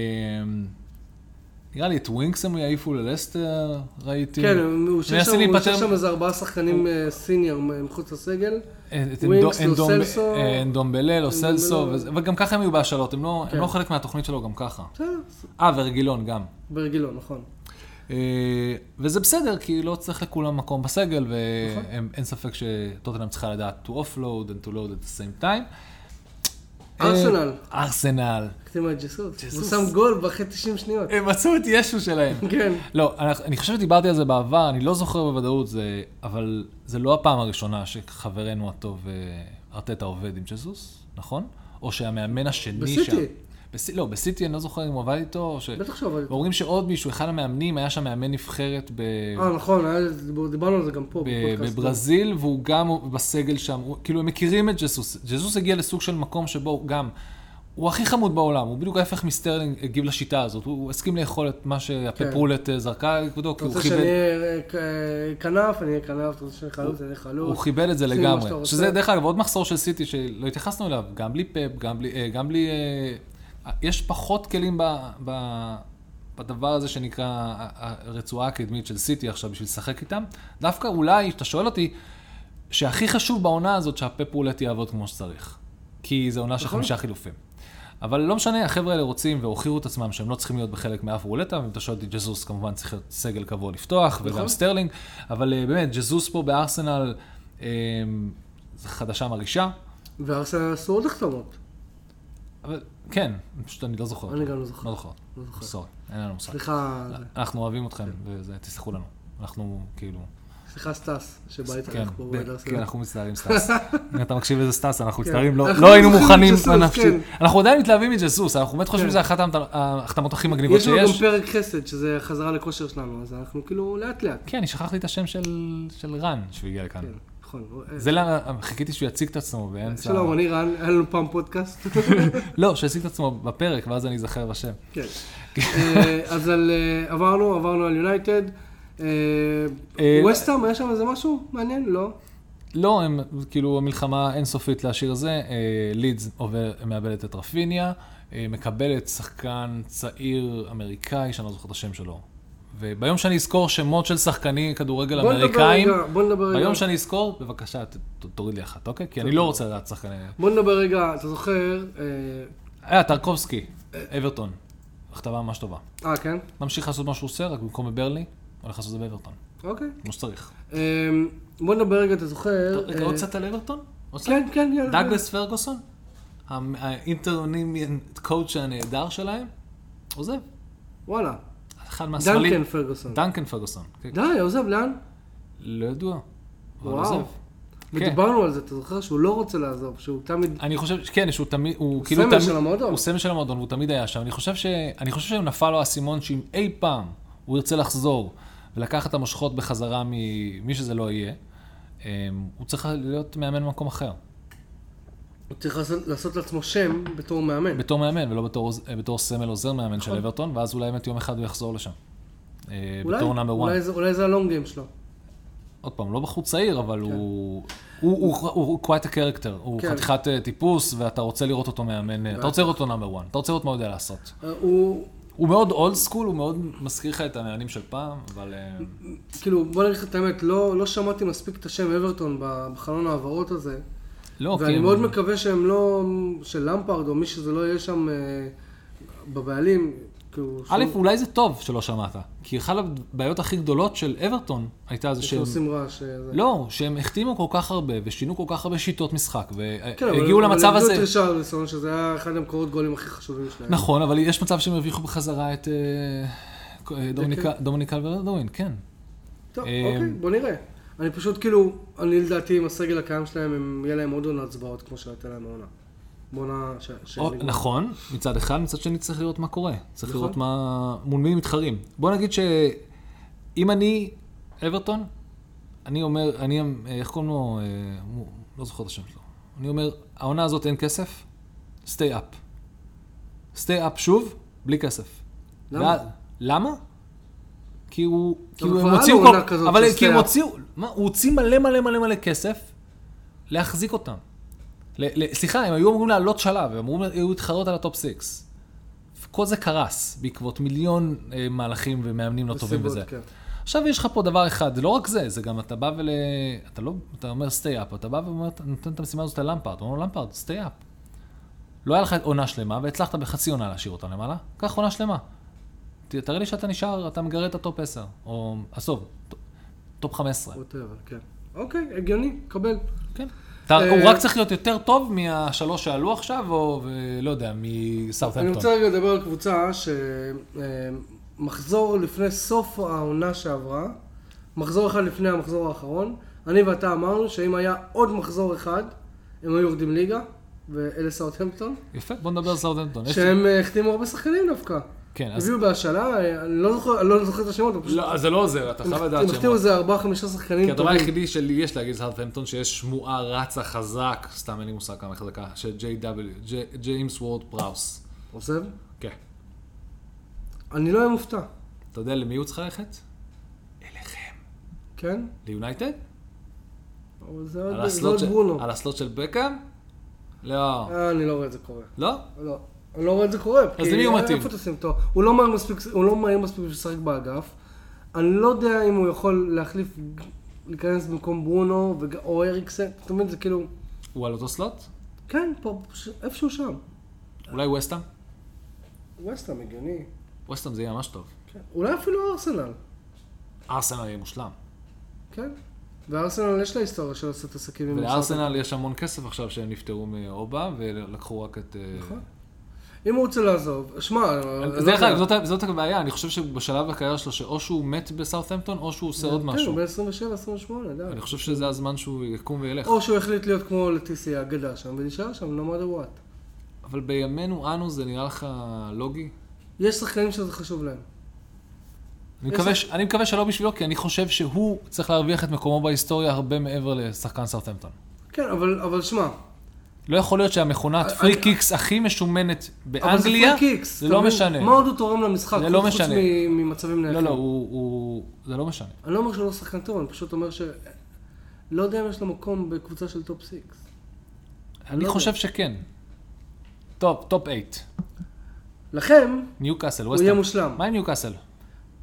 נראה לי את ווינקס הם יעיפו ללסטר, ראיתי.
כן, הוא השאיר שם-
מנסים
הוא השאיר
להיפטר-
שם איזה ארבעה שחקנים אה, סיניור מ- מחוץ לסגל.
את
ווינקס,
אנדו-
לוס
אנדומ-
סלסו.
אה, אנדומבלה, לוס
אנדומבלה.
סלסו, וזה- אבל גם ככה הם יהיו בהשאלות, הם לא הם
כן.
לא חלק מהתוכנית שלו גם ככה.
בסדר,
אה, ורגילון גם.
ברגילו, נכון.
אה, וזה בסדר, כי לא צריך לכולם מקום בסגל,
נכון.
ואין ספק שטוטנאם צריכה לדעת to offload and to load at the same time.
ארסנל.
אה, ארסנל.
הקדימה את ג'סוס. הוא
ג'סוס.
שם גול ואחרי 90 שניות.
הם מצאו את ישו שלהם.
כן.
לא, אני- אני חושב שדיברתי על זה בעבר, אני לא זוכר בוודאות, זה, אבל זה לא הפעם הראשונה שחברנו הטוב אה, ארטטה עובד עם ג'זוס, נכון? או שהמאמן השני
בסיטי.
שם... בס... לא, בסיטי אני לא זוכר אם הוא עבד איתו, או ש...
בטח שעבד איתו.
אומרים שעוד מישהו, אחד המאמנים, היה שם מאמן נבחרת ב...
אה, לא, נכון, היה- דיברנו על זה גם פה,
ב-
בפודקאסט.
בברזיל, והוא גם בסגל שם, הוא, כאילו הם מכירים את ג'סוס. ג'סוס הגיע לסוג של מקום שבו הוא גם, הוא הכי חמוד בעולם, הוא בדיוק ההפך מסטרלינג הגיב לשיטה הזאת, הוא, הוא הסכים לאכול את מה שהפפרולת אה, זרקה לכבודו, כי
כן. אתה
הוא
רוצה
כיבד,
שאני אהיה אה, כנף, אני אהיה כנף, אתה רוצה שאני חלוץ, אני אהיה חלוץ.
הוא כיבד את זה
שים לא מה שאתה
לגמרי.
רוצה.
שזה דרך אגב עוד מחסור של סיטי שלא התייחסנו אליו, גם בלי פאפ, גם בלי, אה, גם בלי, אה, יש פחות כלים ב... ב בדבר הזה שנקרא ה- ה- הרצועה הקדמית של סיטי עכשיו בשביל לשחק איתם. דווקא אולי, אתה שואל אותי, שהכי חשוב בעונה הזאת שהפפ רולט יעבוד כמו שצריך. כי זו עונה של
נכון.
חמישה חילופים. אבל לא משנה, החבר'ה האלה רוצים והוכיחו את עצמם שהם לא צריכים להיות בחלק מאף רולטה, ואם אתה שואל אותי, ג'זוס כמובן צריך להיות סגל קבוע לפתוח,
נכון.
וגם סטרלינג, אבל אה, באמת, ג'זוס פה בארסנל, אה, זה חדשה מרעישה,
וארסנל עשו עוד החתמות.
אבל כן, פשוט אני לא זוכר.
אני גם לא זוכר.
לא זוכר.
לא זוכר.
סורי, אין לנו מושג.
סליחה, זה-
אנחנו אוהבים
כן.
אתכם, וזה- תסלחו לנו. אנחנו כאילו...
סליחה סטאס, שבא
כן,
איתך פה
ב-
באוהד
כן,
ארסנל.
אנחנו מצטערים,
[laughs]
סטאס. אם אתה מקשיב לזה, סטאס, אנחנו
כן.
מצטערים, לא
אנחנו
לא היינו
מתחילים
מוכנים
מג'סוס,
נפשית.
כן.
אנחנו עדיין מתלהבים מג'סוס, אנחנו באמת חושבים
כן.
שזה אחת ההמת- ההחתמות הכי מגניבות
יש לנו גם
שיש.
פרק חסד, שזה חזרה לכושר שלנו, אז אנחנו כאילו לאט לאט.
כן, אני שכחתי את השם של של רן, שהוא הגיע לכאן.
כן, נכון.
זה למה, חיכיתי שהוא יציג את עצמו באמצע...
שלום, אני רן, היה לנו פעם פודקאסט. [laughs]
לא, שיציג את עצמו בפרק, ואז אני אזכר בשם. [laughs]
כן. אה, אז על, אה, עברנו, עברנו על יונייטד.
אה,
ווסטהאם, היה שם איזה משהו מעניין? לא.
לא, הם, כאילו, המלחמה אינסופית להשאיר זה. אה, לידס עובר, מאבדת את רפיניה, אה, מקבלת שחקן צעיר אמריקאי, שאני לא זוכר את השם שלו. וביום שאני אזכור שמות של שחקני כדורגל
בוא נדבר
אמריקאים,
רגע, בוא נדבר רגע.
ביום שאני אזכור, בבקשה, ת, ת, תוריד לי אחת, אוקיי? כי אני לא רוצה לדעת שחקני...
בוא נדבר רגע, אתה זוכר, אה,
אה, טרקובסקי, אברטון. הכתבה ממש טובה.
אה, כן?
ממשיך לעשות מה שהוא עושה, רק במקום בברלי, הולך לעשות את זה באברטון,
אוקיי.
כמו שצריך.
אה, בוא נדבר רגע, אתה זוכר...
רגע,
אה,
עוד קצת על אברטון? עוד קצת?
כן, כן, יאללה.
דאגלס פרגוסון, המ- האינטרנימיין קואוצ' הנהדר שלהם, עוזב.
וואלה.
אחד מהסמלים.
דנקן פרגוסון.
דנקן פרגוסון. כן.
די, עוזב, לאן?
לא ידוע. אבל
וואו.
עוזב. כן.
ודיברנו על זה, אתה זוכר שהוא לא רוצה לעזוב, שהוא תמיד...
אני חושב, ש- כן, שהוא תמיד, הוא כאילו
סמל
תמיד,
של המועדון.
הוא סמל של המועדון, והוא תמיד היה שם. אני חושב ש... אני חושב שהוא נפל לו האסימון שאם אי פעם הוא ירצה לחזור ולקחת את המושכות בחזרה ממי שזה לא יהיה, אמ, הוא צריך להיות מאמן במקום אחר.
הוא צריך לעשות- לעשות לעצמו שם בתור מאמן.
בתור מאמן, ולא בתור, עוז- אה, בתור סמל עוזר מאמן של אברטון, ואז אולי באמת יום אחד הוא יחזור לשם. אה,
נכון. אולי-
בתור נאמר וואן.
אולי זה- אולי זה הלונג גיים שלו.
עוד פעם, לא בחור צעיר, אבל הוא... הוא, הוא, הוא, הוא quite a character, הוא
כן.
חתיכת אה, טיפוס, ואתה רוצה לראות אותו מאמן, אה, אתה רוצה לראות אותו נאמר 1, אתה רוצה לראות מה הוא יודע לעשות.
אה, הוא...
הוא מאוד אולד סקול, הוא מאוד מזכיר לך את המאמנים של פעם, אבל... אה,
כאילו, בוא נגיד לך את האמת, לא, לא שמעתי מספיק את השם אברטון ב- בחלון ההעברות הזה,
לא, כי...
ואני
הם-
מאוד מקווה שהם לא, שלמפרד או מי שזה לא יהיה שם אה, בבעלים, כאילו,
א',
שהוא-
אולי זה טוב שלא שמעת, כי אחת הבעיות הכי גדולות של אברטון הייתה זה שהם...
שעושים רעש. אה, זה.
לא, שהם החתימו כל כך הרבה, ושינו כל כך הרבה שיטות משחק,
כן, אבל-
והגיעו למצב
אבל
הזה.
הביאו את רישרליסון, שזה היה אחד המקורות גולים הכי חשובים שלהם.
נכון, אבל יש מצב שהם הרוויחו בחזרה את אה, אה, דומיניקה- דומיניקל ולדווין, כן.
טוב,
אה,
אוקיי, בוא נראה. אני פשוט כאילו, אני לדעתי עם הסגל הקיים שלהם, הם- יהיה להם עוד עונת זוועות כמו שהייתה להם העונה. בעונה ש...
או-
שנגמרה.
נכון, מצד אחד, מצד שני צריך לראות מה קורה. צריך
נכון.
לראות מה... מול מי מתחרים. בוא נגיד שאם אני אברטון, אני אומר, אני, אה, איך קוראים לו, אה, מו- לא זוכר את השם שלו. אני אומר, העונה הזאת אין כסף, stay up. stay up שוב, בלי כסף.
למה?
ואז- למה? כי הוא, כי
אבל
הוא-
כבר
הם
היה
הוציאו,
לו
כל-
עונה כזאת
אבל
של
כי הם
stay up.
הוציאו, מה, הוא הוציא מלא מלא מלא מלא כסף להחזיק אותם. ל- ל- סליחה, הם היו אמורים לעלות שלב, הם אמורים- היו להתחרות על הטופ 6. כל זה קרס בעקבות מיליון אה, מהלכים ומאמנים לא טובים
וסיבות,
וזה.
כן.
עכשיו יש לך פה דבר אחד, זה לא רק זה, זה גם אתה בא ול... אתה לא, אתה אומר סטי אפ, אתה בא ואומר, אתה נותן את המשימה הזאת ללמפרד, אתה אומר למפרד, סטי אפ. לא היה לך עונה שלמה, והצלחת בחצי עונה להשאיר אותם למעלה, קח עונה שלמה. ת- תראה לי שאתה נשאר, אתה מגרד את הטופ 10, או עזוב, ט- טופ 15.
ווטאבר, כן. אוקיי, הגיוני, קבל.
כן. אתה,
אה,
הוא רק צריך להיות יותר טוב מהשלוש שעלו עכשיו, או לא יודע, מסאוטהמפטון.
אני רוצה רגע לדבר על קבוצה שמחזור לפני סוף העונה שעברה, מחזור אחד לפני המחזור האחרון, אני ואתה אמרנו שאם היה עוד מחזור אחד, הם היו יורדים ליגה, ואלה סאוטהמפטון,
יפה, בוא נדבר על סאוטהמפטון. יש-
שהם אה, החתימו הרבה שחקנים דווקא.
כן, אז...
הביאו בהשאלה, אה, אני לא זוכר אני לא זוכר את השמות, אבל פשוט...
לא, זה לא עוזר, אתה חייב לדעת
הם החתימו איזה ארבעה חמישה
כי
שחקנים
הדבר
טובים.
היחידי שלי יש להגיד סאוטהמפטון, שיש שמועה רצה חזק, סתם אין לי מושג כמה היא חזקה, של J.W. ג'יימס וורד פראוס.
עוזב?
כן.
אני לא אהיה מופתע,
אתה יודע למי הוא צריך ללכת? אליכם.
כן?
ליונייטד?
אבל זה
על
עוד זה
הסלוט
עוד
של-
לא ברונו.
על הסלוט של בקאם? לא.
אה, אני לא רואה את זה קורה.
לא?
לא, אני לא רואה את זה קורה. כי
למי הוא מתאים?
איפה תשים אותו? הוא לא מהיר מספיק, הוא לא מהיר מספיק בשביל לשחק באגף. אני לא יודע אם הוא יכול להחליף, להיכנס במקום ברונו וג- או אריקסן. זאת אומרת, זה כאילו,
הוא על אותו סלוט?
כן, פה, ש- איפשהו שם.
אולי ווסטאם?
ווסטהאם הגיוני.
ווסטאם זה יהיה ממש טוב.
כן. אולי אפילו ארסנל,
ארסנל יהיה מושלם.
כן? וארסנל יש לה היסטוריה של לעשות עסקים עם
ולארסנל יש המון כסף עכשיו שהם נפטרו מאובה ולקחו רק את... אה,
נכון. אם הוא רוצה לעזוב, שמע, אני לא
אז דרך
יודע.
אגב, זאת ה- זאת הבעיה, אני חושב שבשלב הקריירה שלו, שאו שהוא מת בסאות'המפטון, או שהוא עושה עוד
כן, הוא
משהו.
בן 27, 28, די.
אני חושב שזה הזמן שהוא יקום וילך.
או שהוא החליט להיות כמו לטיסי האגדה שם, ונשאר שם, no matter what.
אבל בימינו אנו זה נראה לך לוגי?
יש שחקנים שזה חשוב להם.
אני
יש
מקווה,
לך-
ש... אני מקווה שלא בשבילו, כי אני חושב שהוא צריך להרוויח את מקומו בהיסטוריה הרבה מעבר לשחקן סאוטהמפטון.
כן, אבל, אבל שמע,
לא יכול להיות שהמכונת פרי קיקס הכי משומנת
אה, אבל זה
באנגליה,
פרי קיקס.
זה
אתה
לא
מבין?
משנה.
מה עוד הוא תורם למשחק?
זה לא
חוץ-
משנה.
חוץ מ- ממצבים
לא,
נייחים.
לא, הוא, הוא... זה לא משנה.
אני לא אומר שהוא לא שחקן טוב, אני פשוט אומר ש... לא יודע אם יש לו מקום בקבוצה של טופ 6.
אני
לא
חושב
יודע.
שכן. טופ, טופ 8.
לכם,
ניו קאסל,
הוא יהיה מושלם.
מה עם ניו קאסל?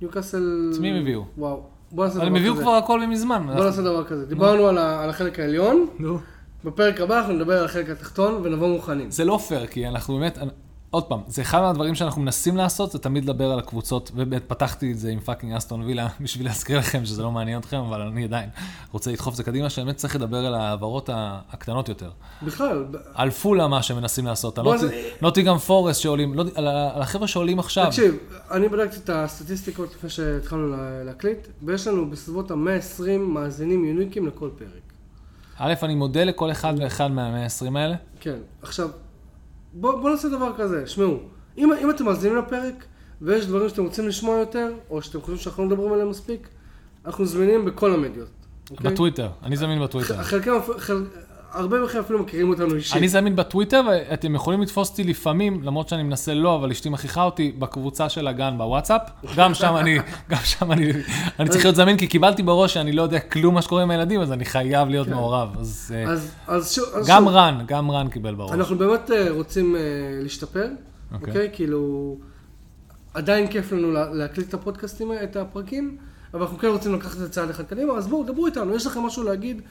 ניוקאסל...
את מי הם הביאו?
וואו. בוא נעשה
אבל
דבר
הם
כזה.
הביאו כבר הכל מזמן.
בוא נעשה דבר כזה. דיברנו על ה- על החלק העליון,
נו.
בפרק הבא אנחנו נדבר על החלק התחתון ונבוא מוכנים.
זה לא פייר, כי אנחנו באמת, אני- עוד פעם, זה אחד מהדברים שאנחנו מנסים לעשות, זה תמיד לדבר על הקבוצות, ובאמת פתחתי את זה עם פאקינג אסטון וילה, [laughs] בשביל להזכיר לכם שזה לא מעניין אתכם, אבל אני עדיין רוצה לדחוף את זה קדימה, שבאמת צריך לדבר על ההעברות ה- הקטנות יותר.
בכלל, ב-
על פולה מה שמנסים לעשות, על
בוא,
נוטי-
זה-
נוטיגאם פורסט שעולים, לא- על ה- על החבר'ה שעולים עכשיו.
תקשיב, אני בדקתי את הסטטיסטיקות לפני שהתחלנו לה- להקליט, ויש לנו בסביבות ה-120 מאזינים יוניקים לכל פרק.
א', אני מודה לכל אחד ואחד מה-120 האלה.
כן, עכשיו, בואו בוא נעשה דבר כזה, שמעו, אם, אם אתם מאזינים לפרק ויש דברים שאתם רוצים לשמוע יותר, או שאתם חושבים שאנחנו לא מדברים עליהם מספיק, אנחנו זמינים בכל המדיות, אוקיי?
בטוויטר, אני זמין בטוויטר.
חלקם, אפ- חל... הרבה מכם אפילו מכירים אותנו אישית.
אני זמין בטוויטר, ואתם יכולים לתפוס אותי לפעמים, למרות שאני מנסה לא, אבל אשתי מכריחה אותי בקבוצה של הגן בוואטסאפ. גם שם
[laughs]
אני, גם שם אני, אני צריך להיות זמין, כי קיבלתי בראש שאני לא יודע כלום מה שקורה עם הילדים, אז אני חייב להיות מעורב. אז אה,
כן. אז, אז, שוב, אז
גם
שוב,
רן, גם רן קיבל בראש.
אנחנו באמת אה, רוצים אה, להשתפר,
אוקיי.
אוקיי? כאילו, עדיין כיף לנו לה- להקליט את הפודקאסטים, אה, את הפרקים, אבל אנחנו כן רוצים לקחת את זה צעד אחד קדימה, אז בואו, דברו איתנו, יש לכם משהו להגיד,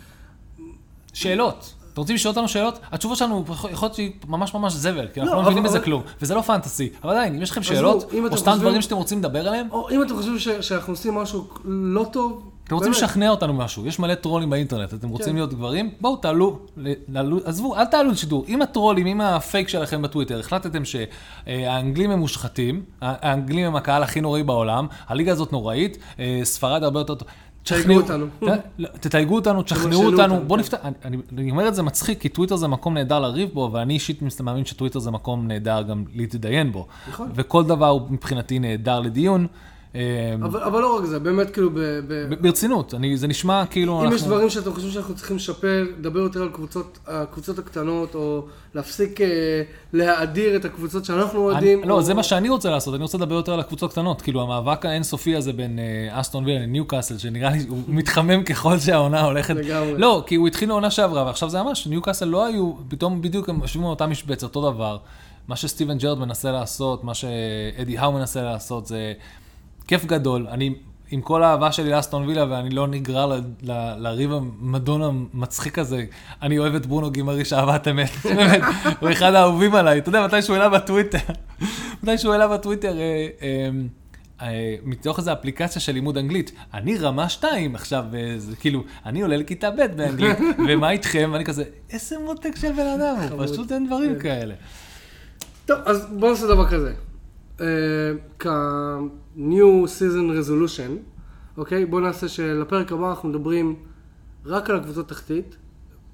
שאלות. אתם רוצים לשאול אותנו שאלות? התשובות שלנו יכול יכול להיות שהיא ממש ממש זבל, כי אנחנו
לא,
לא מבינים
אבל-
בזה
אבל-
כלום, וזה לא פנטסי. אבל עדיין, אם יש לכם
עזבו,
שאלות,
אם
או
אתם
סתם
חושבים-
דברים שאתם רוצים לדבר עליהם,
או אם אתם חושבים ש- שאנחנו עושים משהו לא טוב,
אתם רוצים
באמת, כן.
לשכנע אותנו משהו, יש מלא טרולים באינטרנט, אתם רוצים להיות גברים? בואו תעלו, ל- לעלו- עזבו, אל תעלו לשידור. אם הטרולים, אם הפייק שלכם בטוויטר, החלטתם שהאנגלים הם מושחתים, ה- האנגלים הם הקהל הכי נוראי בעולם, הליגה הזאת נוראית, אה, ספרד הרבה יותר טוב.
תתייגו
תשכנעו-
אותנו.
ת- לא, תתייגו אותנו, תשכנעו
שאלו
אותנו,
אותנו,
בואו
כן.
נפתח, אני- אני- אני אומר את זה מצחיק, כי טוויטר זה מקום נהדר לריב בו, ואני אישית מאמין שטוויטר זה מקום נהדר גם להתדיין בו.
נכון.
וכל דבר הוא מבחינתי נהדר לדיון. אה,
אבל, אבל לא רק זה, באמת כאילו, ב, ב,
ב- ברצינות, אני, זה נשמע כאילו
אם
אנחנו...
יש דברים שאתם חושבים שאנחנו צריכים לשפר, דבר יותר על קבוצות, הקבוצות הקטנות, או להפסיק אה, להאדיר את הקבוצות שאנחנו אוהדים.
אני, לא,
או...
זה מה שאני רוצה לעשות, אני רוצה לדבר יותר על הקבוצות קטנות. כאילו, המאבק האינסופי הזה בין אה, אסטון וילה לניו קאסל, שנראה לי, הוא מתחמם ככל שהעונה הולכת.
לגמרי.
לא, כי הוא התחיל העונה שעברה, ועכשיו זה ממש, ניו קאסל לא היו, פתאום בדיוק הם יושבים על אותה משבצת, אותו דבר. מה שסטיבן ג'רד מנסה לעשות, מה שאדי האו מנסה לעשות, זה כיף גדול. אני, עם כל האהבה שלי לאסטון וילה, ואני לא נגרר ל- ל- לריב המדון המצחיק הזה, אני אוהב את ברונו גימרי שאהבת אמת, [laughs] באמת, הוא אחד האהובים עליי. אתה יודע, מתי שהוא העלה בטוויטר, [laughs] מתי שהוא העלה בטוויטר, אה, אה, אה, מתוך איזו אפליקציה של לימוד אנגלית. אני רמה 2 עכשיו, אה, זה כאילו, אני עולה לכיתה ב'
[laughs]
באנגלית, ומה איתכם? ואני כזה, איזה מותק של בן אדם, הוא
חמוד.
פשוט אין דברים
כן.
כאלה.
טוב, אז בואו נעשה דבר כזה. אה, כ-new season resolution, אוקיי? בואו נעשה שלפרק הבא אנחנו מדברים רק על הקבוצות תחתית.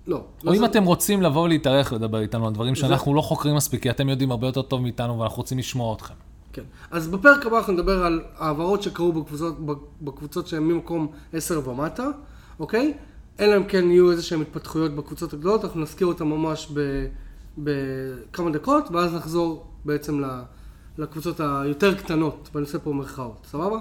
לא.
או
לא
אם
זה-
אתם רוצים לבוא ולהתארח לדבר איתנו על דברים
זה-
שאנחנו לא חוקרים מספיק, כי אתם יודעים הרבה יותר טוב מאיתנו ואנחנו רוצים לשמוע אתכם.
כן. אז בפרק הבא אנחנו נדבר על העברות שקרו בקבוצות, בקבוצות שהן ממקום 10 ומטה, אוקיי? אלא אם כן יהיו איזה שהן התפתחויות בקבוצות הגדולות, אנחנו נזכיר אותן ממש ב- בכמה דקות, ואז נחזור בעצם ל- לקבוצות היותר קטנות, ואני עושה פה מירכאות, סבבה?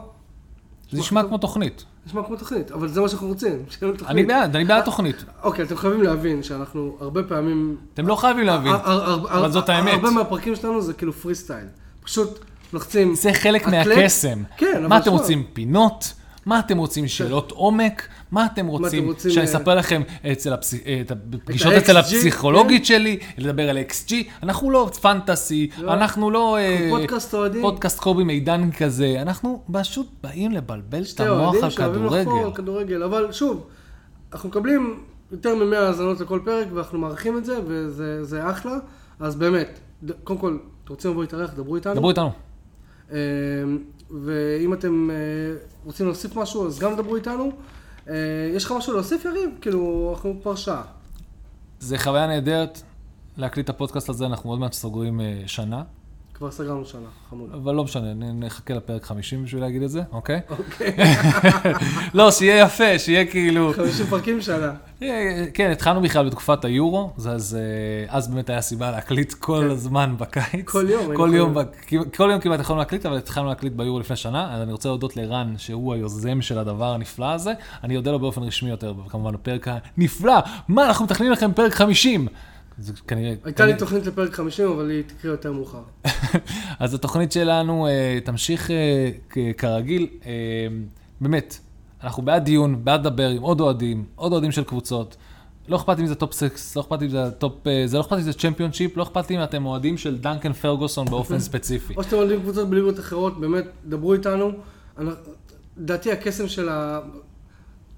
זה נשמע כמו תוכנית.
נשמע כמו תוכנית, אבל זה מה שאנחנו רוצים, [laughs] שיהיה לנו
אני
תוכנית.
בעד, אני בעד תוכנית.
אוקיי, אתם חייבים להבין שאנחנו הרבה פעמים
אתם לא חייבים להבין,
הר- הר- הר-
אבל זאת האמת.
הרבה מהפרקים שלנו זה כאילו פרי סטייל. פשוט לוחצים...
זה חלק
הקלט.
מהקסם.
כן, אבל...
מה אתם
שמע,
רוצים, פינות? מה אתם רוצים, שאלות עומק? מה אתם רוצים,
רוצים,
שאני
אה,
אספר לכם אצל הפס- אה, את הפגישות
ה-XG,
אצל
כן.
הפסיכולוגית שלי, לדבר על XG? אנחנו לא פנטסי,
לא.
אנחנו לא... אה,
פודקאסט אוהדים.
פודקאסט קובי מידן כזה, אנחנו פשוט באים לבלבל את
שתי
המוח
אוהדים
על
שאוהבים לחפור על
כדורגל.
כדורגל. אבל שוב, אנחנו מקבלים יותר מ-100 האזנות לכל פרק, ואנחנו מארחים את זה, וזה זה אחלה. אז באמת, ד- קודם כל, אתם רוצים לבוא להתארח, דברו איתנו.
דברו איתנו.
אמ, ואם אתם אה, רוצים להוסיף משהו, אז גם דברו איתנו. אה, יש לך משהו להוסיף, יריב? כאילו, אנחנו כבר שעה.
זה חוויה נהדרת להקליט את הפודקאסט הזה, אנחנו עוד מעט סוגרים אה, שנה,
כבר סגרנו שנה, חמוד.
אבל לא משנה, נ- נחכה לפרק 50 בשביל להגיד את זה, אוקיי?
אוקיי,
[laughs] לא, שיהיה יפה, שיהיה כאילו...
50 פרקים שנה.
אה, כן, התחלנו בכלל בתקופת היורו, אז- אז אה, אז באמת היה סיבה להקליט כל הזמן בקיץ.
כן. כל יום, היינו
כל
כל
יום.
יום.
בק- כמעט- כל יום כמעט יכולנו להקליט, אבל התחלנו להקליט ביורו לפני שנה. אז אני רוצה להודות לרן, שהוא היוזם של הדבר הנפלא הזה. אני אודה לו באופן רשמי יותר, כמובן, בפרק הנפלא. מה, אנחנו מתכננים לכם פרק 50. זה כנראה...
הייתה לי
כנראה-
תוכנית לפרק 50, אבל היא תקרה יותר מאוחר.
אז התוכנית שלנו אה, תמשיך אה, כ- כרגיל. אה, באמת, אנחנו בעד דיון, בעד לדבר עם עוד אוהדים, עוד אוהדים של קבוצות. לא אכפת אם זה טופ סקס, לא אכפת אם זה טופ... אה, זה לא אכפת אם זה צ'מפיונשיפ, לא אכפת אם אתם אוהדים של דנקן פרגוסון באופן ספציפי.
או שאתם אוהדים קבוצות בליגות אחרות, באמת, דברו איתנו. אנחנו- לדעתי הקסם של ה...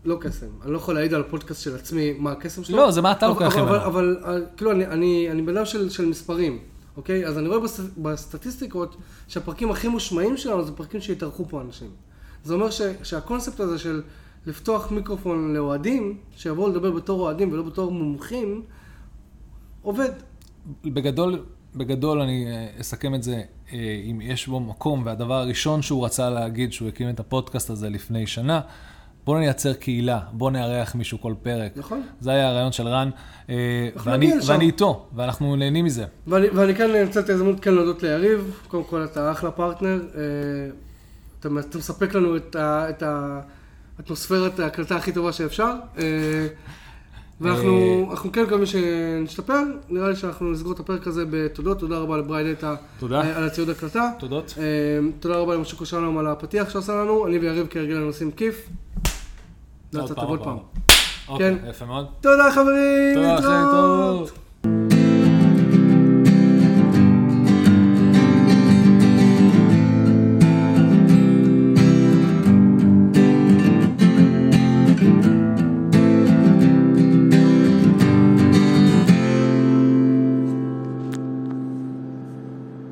לא קסם, אני לא יכול להעיד על הפודקאסט של עצמי מה הקסם שלו.
לא, זה מה אתה
אבל-
לוקח
אבל-
ממנו.
אבל אבל, כאילו, אני- אני אני בן אדם של של מספרים, אוקיי? אז אני רואה בס- בסטטיסטיקות שהפרקים הכי מושמעים שלנו זה פרקים שהתארחו פה אנשים. זה אומר ש- שהקונספט הזה של לפתוח מיקרופון לאוהדים, שיבואו לדבר בתור אוהדים ולא בתור מומחים, עובד.
בגדול, בגדול אני אה, אסכם את זה, אה, אם יש בו מקום, והדבר הראשון שהוא רצה להגיד, שהוא הקים את הפודקאסט הזה לפני שנה, בואו נייצר קהילה, בואו נארח מישהו כל פרק.
נכון.
זה היה הרעיון של רן, אה,
אנחנו
ואני,
נגיע לשם.
ואני איתו, ואנחנו נהנים מזה.
ואני, ואני כאן אנצל את ההזדמנות כן להודות ליריב, קודם כל אתה אחלה פרטנר, אה, אתה, אתה מספק לנו את, ה, את האטמוספרת ההקלטה הכי טובה שאפשר, אה, ואנחנו
אה,
אנחנו כן מקווים שנשתפר, נראה לי שאנחנו נסגור את הפרק הזה בתודות, תודה רבה לבריי דאטה
תודה.
אה, על הציוד הקלטה,
תודות.
אה, תודה רבה למשה קושרנום על הפתיח שעשה לנו, אני ויריב כהרגל לנו עושים כיף,
עוד
נעצת
פעם,
לא, עוד
עוד
פעם,
אוקיי,
כן.
יפה מאוד.
תודה חברים,
תודה, אחרי
להתראות.
טוב.